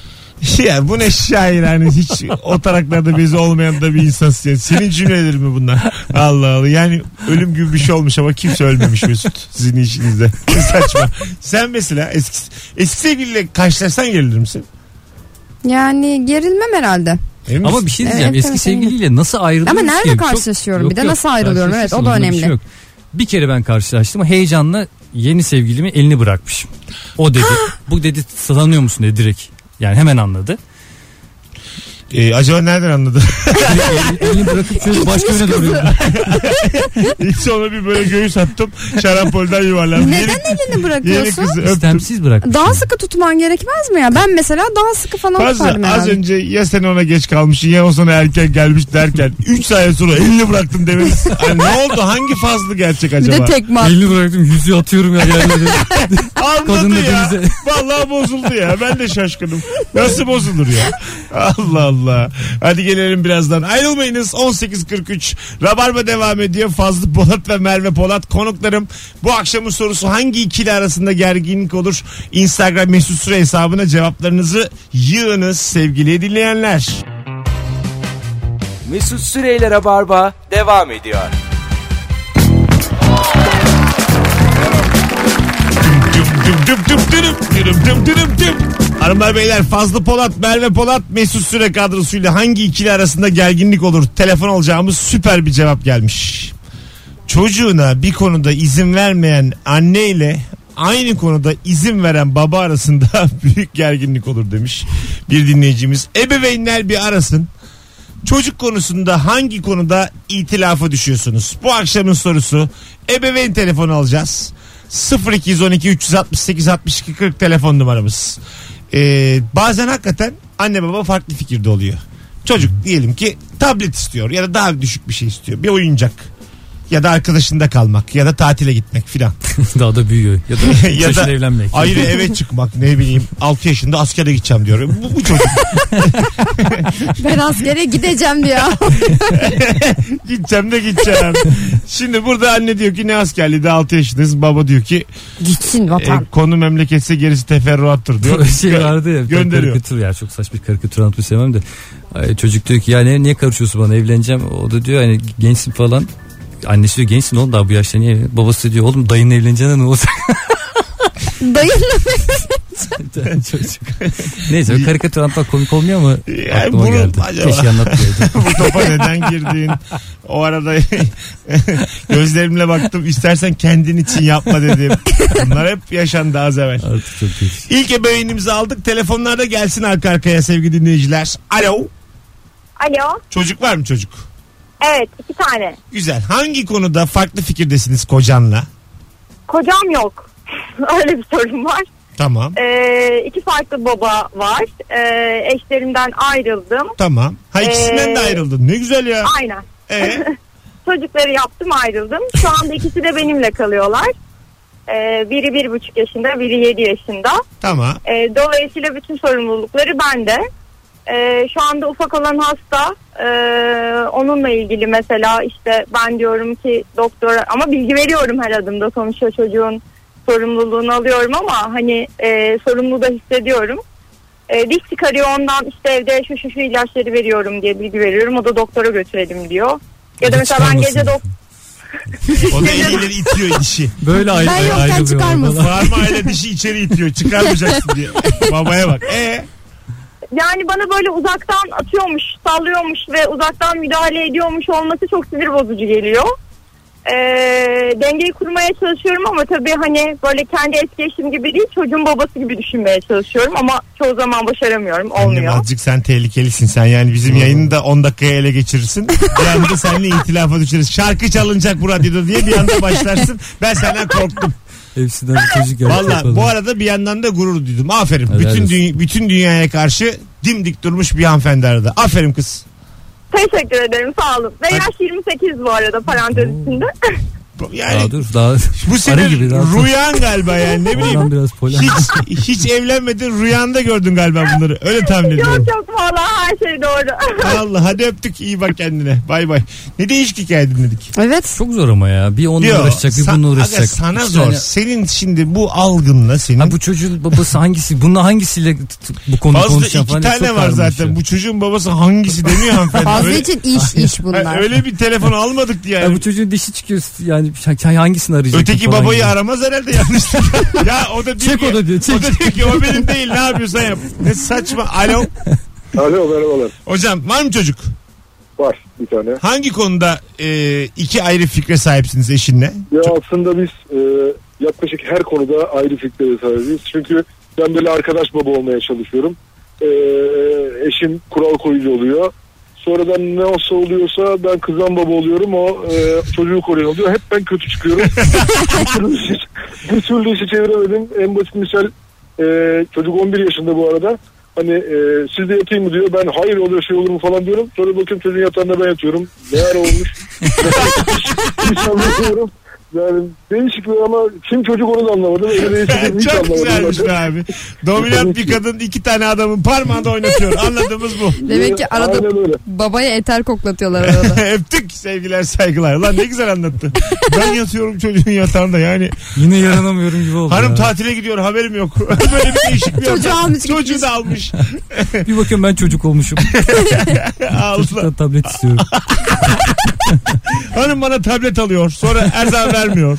Speaker 2: Ya bu ne şair hani hiç o taraklarda bezi olmayan da bir insansın. ya. Senin cümleleri mi bunlar? Allah Allah. Yani ölüm gibi bir şey olmuş ama kimse ölmemiş Mesut. Sizin işinizde. Saçma. Sen mesela eski, eski sevgiliyle karşılaşsan gelir misin?
Speaker 3: Yani gerilmem herhalde.
Speaker 2: Emin misin?
Speaker 4: Ama bir şey diyeceğim.
Speaker 3: Evet,
Speaker 4: eski
Speaker 3: evet,
Speaker 4: sevgiliyle nasıl ayrılıyorsun
Speaker 3: Ama nerede
Speaker 4: ki? Çok-
Speaker 3: karşılaşıyorum?
Speaker 4: Yok,
Speaker 3: bir de
Speaker 4: yok,
Speaker 3: nasıl ayrılıyorum? Evet o da
Speaker 4: karşılaşıyorsun,
Speaker 3: önemli.
Speaker 4: Bir, şey yok. Bir kere ben karşılaştım. Heyecanla yeni sevgilimi elini bırakmışım. O dedi. bu dedi tanıyor musun dedi direkt. Yani hemen anladı. şey-
Speaker 2: Ee, acaba nereden anladın?
Speaker 4: Elini- elini bırakıp şöyle başka birine doğru.
Speaker 2: İlk sonra bir böyle göğüs attım. Şarampolden yuvarlandım.
Speaker 3: Neden elini
Speaker 2: Yeni
Speaker 3: bırakıyorsun?
Speaker 2: kızı öptüm.
Speaker 4: İstemsiz bırakmış.
Speaker 3: Daha sıkı tutman gerekmez mi ya? Ben mesela daha sıkı falan
Speaker 2: Fazla
Speaker 3: tutardım
Speaker 2: az
Speaker 3: herhalde.
Speaker 2: önce ya sen ona geç kalmışsın ya o sana erken gelmiş derken 3 saniye sonra elini bıraktım demeniz. Hani ne oldu? Hangi fazlı gerçek
Speaker 3: Bir
Speaker 2: acaba?
Speaker 3: de tekme at-
Speaker 4: Elini bıraktım yüzü atıyorum ya yerlere.
Speaker 2: Anladı
Speaker 4: Kadın da
Speaker 2: ya.
Speaker 4: denize-
Speaker 2: Vallahi bozuldu ya. Ben de şaşkınım. Nasıl bozulur ya? Allah Allah. Hadi gelelim birazdan. Ayrılmayınız. 18.43. Rabarba devam ediyor. Fazlı Polat ve Merve Polat konuklarım. Bu akşamın sorusu hangi ikili arasında gerginlik olur? Instagram mesut süre hesabına cevaplarınızı yığınız sevgili dinleyenler.
Speaker 1: Mesut Süreyler'e barba devam ediyor.
Speaker 2: Hanımlar beyler Fazlı Polat, Merve Polat, Mesut Süre kadrosuyla hangi ikili arasında gerginlik olur? Telefon alacağımız süper bir cevap gelmiş. Çocuğuna bir konuda izin vermeyen anne ile aynı konuda izin veren baba arasında büyük gerginlik olur demiş bir dinleyicimiz. Ebeveynler bir arasın. Çocuk konusunda hangi konuda itilafa düşüyorsunuz? Bu akşamın sorusu ebeveyn telefonu alacağız. 0212 368 62 40 telefon numaramız. Ee, bazen hakikaten anne baba farklı fikirde oluyor. Çocuk diyelim ki tablet istiyor ya da daha düşük bir şey istiyor. Bir oyuncak ya da arkadaşında kalmak ya da tatile gitmek filan.
Speaker 4: Daha da büyüyor. Ya da,
Speaker 2: Ya
Speaker 4: ya
Speaker 2: da-
Speaker 4: evlenmek.
Speaker 2: Ayrı eve çıkmak ne bileyim 6 yaşında askere gideceğim diyor. Bu, bu çocuk
Speaker 3: Ben askere gideceğim diyor.
Speaker 2: gideceğim de gideceğim. Şimdi burada anne diyor ki ne askerliği de 6 yaşındasın. Baba diyor ki
Speaker 3: Gitsin
Speaker 2: E,
Speaker 3: vatan.
Speaker 2: konu memleketse gerisi teferruattır diyor.
Speaker 4: Böyle şey vardı ya. bir tane
Speaker 2: gönderiyor.
Speaker 4: Karikatür ya çok saçma bir karikatür anlatmayı sevmem de. Ay, çocuk diyor ki ya ne, niye karışıyorsun bana evleneceğim. O da diyor hani gençsin falan. Annesi diyor gençsin oğlum daha bu yaşta niye? evlen-" Babası diyor oğlum dayın evleneceğine ne olacak?
Speaker 3: Dayınla
Speaker 4: çocuk. Neyse böyle karikatür anlatmak komik olmuyor ama
Speaker 2: Yani
Speaker 4: aklıma
Speaker 2: bunu
Speaker 4: geldi.
Speaker 2: acaba-
Speaker 4: Keşke anlatmayaydım.
Speaker 2: Bu topa neden girdin? O arada gözlerimle baktım. İstersen kendin için yapma dedim. Bunlar hep yaşandı az evvel.
Speaker 4: Artık çok geç.
Speaker 2: İlk ebeveynimizi aldık. Telefonlar da gelsin arka arkaya sevgili dinleyiciler. Alo.
Speaker 6: Alo.
Speaker 2: Çocuk var mı çocuk?
Speaker 6: Evet iki tane.
Speaker 2: Güzel. Hangi konuda farklı fikirdesiniz kocanla?
Speaker 6: Kocam yok. Öyle bir sorun var.
Speaker 2: Tamam.
Speaker 6: Ee, iki farklı baba var. Ee, eşlerimden ayrıldım.
Speaker 2: Tamam. Ha ikisinden de
Speaker 6: Ee,
Speaker 2: ayrıldın. Ne güzel ya.
Speaker 6: Aynen.
Speaker 2: Ee,
Speaker 6: Çocukları yaptım ayrıldım. Şu anda ikisi de benimle kalıyorlar. Ee, biri bir buçuk yaşında, biri yedi yaşında.
Speaker 2: tamam.
Speaker 6: Ee, dolayısıyla bütün sorumlulukları bende. Ee, şu anda ufak olan hasta. Ee, onunla ilgili mesela işte ben diyorum ki doktora ama bilgi veriyorum her adımda sonuçta çocuğun sorumluluğunu alıyorum ama hani e, sorumlu da hissediyorum. E, diş çıkarıyor ondan işte evde şu şu şu ilaçları veriyorum diye bilgi veriyorum. O da doktora götürelim diyor. Ya da
Speaker 4: Hiç
Speaker 6: mesela ben gece
Speaker 4: çıkarmasın.
Speaker 6: dok
Speaker 2: O da eliyle itiyor dişi.
Speaker 4: Böyle ayrı,
Speaker 3: Ben yoktan
Speaker 4: ayrılıyorlar
Speaker 3: çıkarmasın.
Speaker 4: falan.
Speaker 2: Parmağıyla dişi içeri itiyor. Çıkarmayacaksın diye. Babaya bak. Ee,
Speaker 6: yani bana böyle uzaktan atıyormuş, sallıyormuş ve uzaktan müdahale ediyormuş olması çok sinir bozucu geliyor. Ee, dengeyi kurmaya çalışıyorum ama tabii hani böyle kendi eski eşim gibi değil çocuğun babası gibi düşünmeye çalışıyorum ama çoğu zaman başaramıyorum
Speaker 2: annem
Speaker 6: olmuyor.
Speaker 2: azıcık sen tehlikelisin sen. Yani bizim yayını da 10 dakikaya ele geçirirsin. Bir anda seninle itilafa düşeriz. Şarkı çalınacak bu radyoda diye bir anda başlarsın. Ben senden korktum.
Speaker 4: Hepsinden bir çocuk yaptı
Speaker 2: Valla
Speaker 4: falan.
Speaker 2: bu arada bir yandan da gurur duydum. Aferin.
Speaker 4: Helal
Speaker 2: Bütün,
Speaker 4: olsun.
Speaker 2: dü- bütün dünyaya karşı dimdik durmuş bir hanımefendi arada. Aferin kız.
Speaker 6: Teşekkür ederim sağ olun. Ve
Speaker 2: Hadi.
Speaker 6: yaş 28 bu arada parantez içinde.
Speaker 2: Yani
Speaker 4: Daha dur daha.
Speaker 2: bu
Speaker 4: Arı
Speaker 2: senin
Speaker 4: gibi daha.
Speaker 2: rüyan galiba yani ne bileyim.
Speaker 4: Ondan biraz polen.
Speaker 2: Hiç, hiç evlenmedin rüyanda gördün galiba bunları. Öyle tahmin ediyorum.
Speaker 6: yok yok valla her şey doğru.
Speaker 2: Allah hadi öptük iyi bak kendine. Bay bay. Ne değişik hikaye dinledik.
Speaker 3: Evet.
Speaker 4: Çok zor ama ya. Bir onunla
Speaker 2: Yo,
Speaker 4: uğraşacak bir
Speaker 2: sa-
Speaker 4: bununla
Speaker 2: aga
Speaker 4: uğraşacak.
Speaker 2: sana
Speaker 4: İki
Speaker 2: zor.
Speaker 4: tane-
Speaker 2: Senin şimdi bu algınla senin.
Speaker 4: Ha bu çocuğun babası hangisi? Bununla hangisiyle t- t- bu konuyu
Speaker 2: Fazla
Speaker 4: konuşacak
Speaker 2: iki
Speaker 4: falan.
Speaker 2: tane
Speaker 4: Çok
Speaker 2: var
Speaker 4: karmaşık.
Speaker 2: zaten. Bu çocuğun babası hangisi demiyor hanımefendi.
Speaker 3: Fazla
Speaker 2: öyle,
Speaker 3: için iş iş bunlar.
Speaker 2: Ha, öyle bir telefon almadık diye.
Speaker 4: Ya
Speaker 2: Yani.
Speaker 4: bu çocuğun dişi çıkıyor yani ha- hangisini arayacak?
Speaker 2: Öteki
Speaker 4: falan
Speaker 2: babayı
Speaker 4: gibi.
Speaker 2: aramaz herhalde yanlışlıkla. ya o da diyor
Speaker 4: Çek
Speaker 2: ki,
Speaker 4: o da diyor, çek.
Speaker 2: o da diyor ki o benim değil ne yapıyorsan yap. Ne saçma. Alo.
Speaker 5: Alo merhabalar.
Speaker 2: Hocam var mı çocuk?
Speaker 5: Var bir tane.
Speaker 2: Hangi konuda e, iki ayrı fikre sahipsiniz eşinle?
Speaker 5: Ya aslında biz e, yaklaşık her konuda ayrı fikre sahibiz. Çünkü ben böyle arkadaş baba olmaya çalışıyorum. E, eşim kural koyucu oluyor. Sonradan ne olsa oluyorsa ben kızan baba oluyorum. O e, çocuğu koruyan oluyor. Hep ben kötü çıkıyorum. bir, türlü işi, bir türlü işi çeviremedim. En basit misal e, çocuk 11 yaşında bu arada. Hani e, siz de yatayım mı diyor. Ben hayır olur şey olur mu falan diyorum. Sonra bakıyorum çocuğun yatağında ben yatıyorum. Ne ara olmuş. hiç anlamıyorum. Yani değişik bir ama kim çocuk onu da anlamadım. Öyle değişik hiç
Speaker 2: Çok
Speaker 5: anlamadım.
Speaker 2: güzelmiş
Speaker 5: zaten.
Speaker 2: be abi. Dominant bir kadın iki tane adamın parmağında oynatıyor. Anladığımız bu.
Speaker 3: Demek ki arada
Speaker 5: Aynen öyle.
Speaker 3: babaya eter koklatıyorlar arada.
Speaker 2: Öptük sevgiler saygılar. Lan ne güzel anlattı. Ben yatıyorum çocuğun yatağında yani.
Speaker 4: Yine yaranamıyorum gibi oldu.
Speaker 2: Hanım
Speaker 4: ya.
Speaker 2: tatile gidiyor haberim yok. Böyle bir değişik bir
Speaker 3: Çocuğu
Speaker 2: adam.
Speaker 3: almış gitmiş.
Speaker 2: Çocuğu da almış.
Speaker 4: Bir bakıyorum ben çocuk olmuşum.
Speaker 2: Allah.
Speaker 4: Çocuktan tablet istiyorum.
Speaker 2: Hanım bana tablet alıyor. Sonra her zaman vermiyor.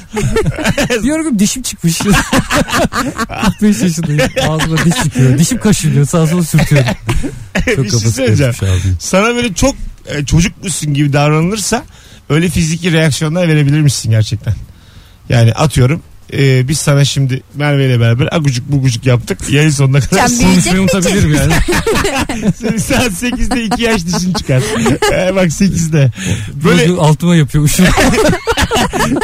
Speaker 4: bir ara bir dişim çıkmış. 45 yaşındayım. Ağzıma diş çıkıyor. Dişim kaşınıyor. Sağa sola sürtüyorum. Çok
Speaker 2: bir şey
Speaker 4: kafası
Speaker 2: söyleyeceğim.
Speaker 4: karışmış ağzım.
Speaker 2: Sana böyle çok e, çocukmuşsun gibi davranılırsa öyle fiziki reaksiyonlar verebilir misin gerçekten? Yani atıyorum e, biz sana şimdi Merve ile beraber agucuk bugucuk yaptık. Yayın sonuna kadar
Speaker 3: Sen büyüyecek
Speaker 4: Konuşmayı
Speaker 3: misin?
Speaker 4: unutabilirim yani.
Speaker 2: Senin saat 8'de 2 yaş dişin çıkar. E, bak 8'de. Böyle
Speaker 4: Böyle altıma yapıyormuşum.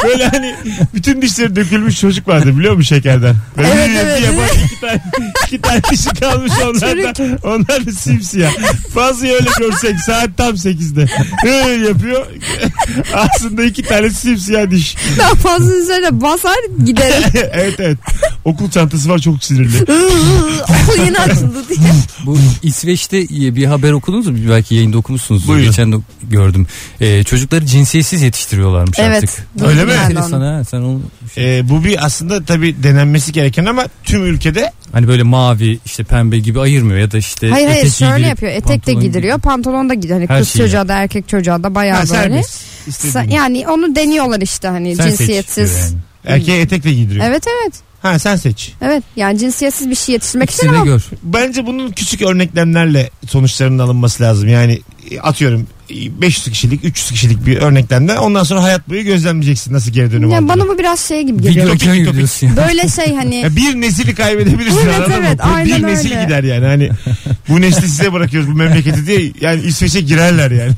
Speaker 2: Böyle hani bütün dişleri dökülmüş çocuk vardı biliyor musun şekerden? Böyle
Speaker 3: Evet,
Speaker 2: bir
Speaker 3: evet.
Speaker 2: yapar, iki tane, iki tane dişi kalmış onlar da, onlar da simsiyah. Fazla öyle görsek saat tam 8'de. Öyle yapıyor. Aslında iki tane simsiyah diş.
Speaker 3: Daha fazla üzerine basar gider.
Speaker 2: evet evet. Okul çantası var çok sinirli.
Speaker 3: ıı, Okul yeni açıldı diye.
Speaker 4: Bu İsveç'te bir haber okudunuz mu? Belki yayında okumuşsunuz.
Speaker 2: Buyurun.
Speaker 4: Geçen de gördüm. Ee, çocukları cinsiyetsiz yetiştiriyorlarmış
Speaker 3: Evet.
Speaker 4: artık.
Speaker 2: Öyle
Speaker 3: duydum
Speaker 2: mi?
Speaker 3: ben de onu.
Speaker 4: Enteresan ha. Sen onu
Speaker 2: Ee, bu bir aslında tabii denenmesi gereken ama tüm ülkede
Speaker 4: Hani böyle mavi işte pembe gibi ayırmıyor ya da işte
Speaker 3: Hayır hayır
Speaker 4: E, etek
Speaker 3: şöyle
Speaker 4: giydirip
Speaker 3: yapıyor. Etek de
Speaker 4: pantolon
Speaker 3: gidiriyor, pantolon da giydiriyor. Hani
Speaker 4: Her
Speaker 3: kız
Speaker 4: şeyi.
Speaker 3: çocuğa da erkek çocuğa da bayağı
Speaker 2: ha,
Speaker 3: böyle.
Speaker 2: serbest. İstediğin
Speaker 3: Sa-
Speaker 2: gibi.
Speaker 3: yani onu deniyorlar işte hani
Speaker 4: Sen seç
Speaker 3: cinsiyetsiz.
Speaker 4: diyor yani.
Speaker 2: Erkeğe etek de giydiriyor.
Speaker 3: Evet evet.
Speaker 2: Ha sen seç.
Speaker 3: Evet. Yani cinsiyetsiz bir şey yetiştirmek için
Speaker 4: İkisini de
Speaker 3: ama
Speaker 4: gör.
Speaker 2: Bence bunun küçük örneklemlerle sonuçlarının alınması lazım. Yani e, atıyorum e, 500 kişilik 300 kişilik bir örneklemden ondan sonra hayat boyu gözlemleyeceksin nasıl geri dönüm
Speaker 3: yani
Speaker 2: olduğunu.
Speaker 3: bana bu biraz şey gibi
Speaker 4: Video
Speaker 3: geliyor.
Speaker 2: Topik,
Speaker 4: okuyan
Speaker 2: topik.
Speaker 4: gibi diyorsun ya.
Speaker 3: Böyle şey hani
Speaker 2: Ya bir nesili kaybedebilirsin
Speaker 3: Evet,
Speaker 2: anladın mı?
Speaker 3: evet,
Speaker 2: Bu bir
Speaker 3: aynen
Speaker 2: nesil
Speaker 3: öyle.
Speaker 2: gider yani. Hani bu nesli size bırakıyoruz bu memleketi diye yani İsveç'e girerler yani.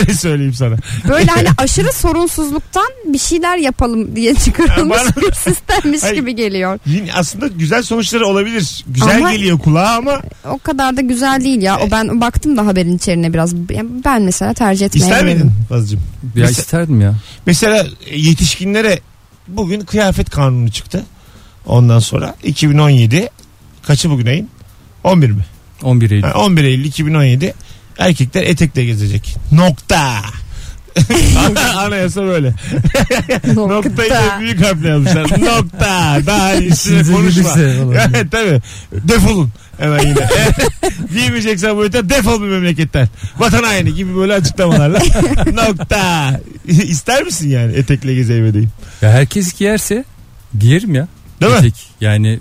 Speaker 2: Öyle söyleyeyim sana.
Speaker 3: böyle hani aşırı sorunsuzluktan bir şeyler yapalım diye çıkarılmış
Speaker 2: Bana-
Speaker 3: bir sistemmiş
Speaker 2: Hayır.
Speaker 3: gibi geliyor.
Speaker 2: Yine aslında güzel sonuçları olabilir. Güzel
Speaker 3: Ama-
Speaker 2: geliyor kulağa ama
Speaker 3: O kadar da güzel değil ya. O ben baktım da haberin içeriğine biraz. Yani Ben mesela tercih
Speaker 2: ister
Speaker 3: etmeyebilirim.
Speaker 2: miydin Fazlıcığım?
Speaker 4: Ya
Speaker 2: Mesela-
Speaker 4: isterdim ya.
Speaker 2: Mesela yetişkinlere bugün kıyafet kanunu çıktı. Ondan sonra 2017 kaçı bugün ayın? 11 mi?
Speaker 4: 11 Eylül.
Speaker 2: Ha, 11 Eylül 2017 erkekler etekle gezecek. Nokta. Anayasa böyle. Noktayı da büyük harfle yazmışlar. Nokta. Daha üstüne
Speaker 4: İşinize
Speaker 2: konuşma.
Speaker 4: gelirse falan.
Speaker 2: Evet tabii. Defolun hemen yine. Eğer Giymeyeceksen bu ülkeden defol bir memleketten. Vatan haini gibi böyle açıklamalarla. Nokta. İster misin yani etekle gezeyim edeyim?
Speaker 4: Ya herkes giyerse giyerim ya.
Speaker 2: Değil mi?
Speaker 4: Etek. Yani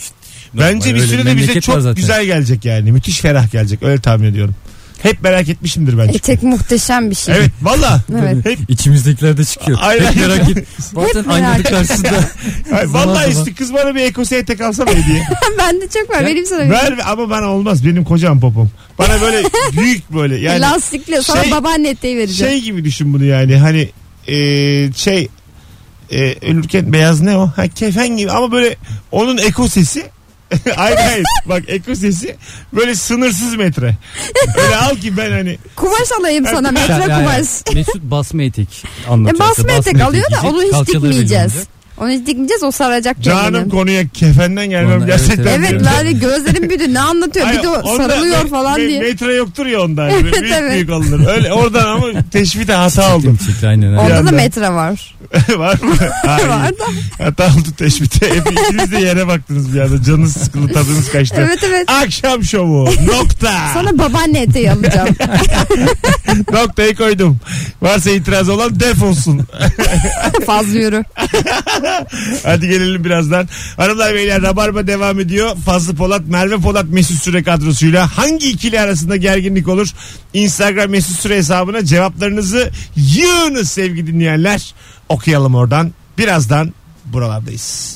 Speaker 4: işte normal
Speaker 2: Bence bir
Speaker 4: öyle
Speaker 2: süre de bize
Speaker 4: memleket var
Speaker 2: çok
Speaker 4: zaten.
Speaker 2: güzel gelecek yani. Müthiş ferah gelecek. Öyle tahmin ediyorum. Hep merak etmişimdir bence.
Speaker 3: Etek E, muhteşem bir şey.
Speaker 2: Evet valla.
Speaker 3: Evet.
Speaker 2: Hep,
Speaker 4: İçimizdekiler de çıkıyor.
Speaker 2: Aynen.
Speaker 4: Hep merak et. Bazen
Speaker 3: merak
Speaker 4: aynanın
Speaker 3: et.
Speaker 4: karşısında.
Speaker 2: Ay,
Speaker 4: Zaman
Speaker 2: vallahi
Speaker 4: zaman.
Speaker 2: işte kız bana bir ekose etek alsana hediye.
Speaker 3: ben de çok var.
Speaker 4: Ya,
Speaker 3: Vereyim sana bir.
Speaker 2: Ver ama bana olmaz. Benim kocam popom. Bana böyle büyük böyle. Yani
Speaker 3: Lastikle sana
Speaker 2: şey-
Speaker 3: babaanne eteği vereceğim.
Speaker 2: şey gibi düşün bunu yani. Hani e, şey e, ölürken beyaz ne o? Ha, kefen gibi ama böyle onun ekosesi hayır hayır. Bak eko sesi böyle sınırsız metre. Öyle al ki ben hani
Speaker 3: Kumaş alayım sana metre
Speaker 4: Yani
Speaker 3: kumaş.
Speaker 4: Mesut basma etik
Speaker 3: E,
Speaker 4: anlatıyor.
Speaker 3: basma etek alıyor da
Speaker 4: giyecek,
Speaker 3: onu hiç
Speaker 4: kalçaları
Speaker 3: dikmeyeceğiz.
Speaker 4: belirlenecek.
Speaker 3: Onu hiç dikmeyeceğiz o saracak
Speaker 2: canım
Speaker 3: kendini.
Speaker 2: konuya kefenden gelmem
Speaker 4: Vallahi evet,
Speaker 2: gerçekten.
Speaker 4: evet.
Speaker 3: Evet
Speaker 2: diyorum.
Speaker 3: yani gözlerim büyüdü ne anlatıyor bir de
Speaker 2: Hayır,
Speaker 3: o
Speaker 2: onda
Speaker 3: sarılıyor
Speaker 2: me-
Speaker 3: falan
Speaker 2: me-
Speaker 3: diye.
Speaker 2: Metre yoktur ya onda. Hani.
Speaker 3: Evet,
Speaker 2: büyük
Speaker 3: evet.
Speaker 2: büyük alınır. Öyle oradan ama teşvite hata aldım.
Speaker 4: Çektim, çektim, aynen, aynen.
Speaker 2: Bir
Speaker 3: Onda da
Speaker 2: yandan-
Speaker 3: metre var.
Speaker 2: Var mı? Hayır.
Speaker 3: var da.
Speaker 2: Hata oldu teşvite. Hepiniz de yere baktınız bir anda. Canınız sıkıldı tadınız kaçtı.
Speaker 3: Evet evet.
Speaker 2: Akşam şovu. Nokta.
Speaker 3: Sana babaanne eteği alacağım.
Speaker 2: Noktayı koydum. Varsa itiraz olan defolsun.
Speaker 3: Fazla yürü.
Speaker 2: Hadi gelelim birazdan. Hanımlar beyler Rabarba devam ediyor. Fazlı Polat, Merve Polat Mesut Süre kadrosuyla hangi ikili arasında gerginlik olur? Instagram Mesut Süre hesabına cevaplarınızı yığınız sevgili dinleyenler. Okuyalım oradan. Birazdan buralardayız.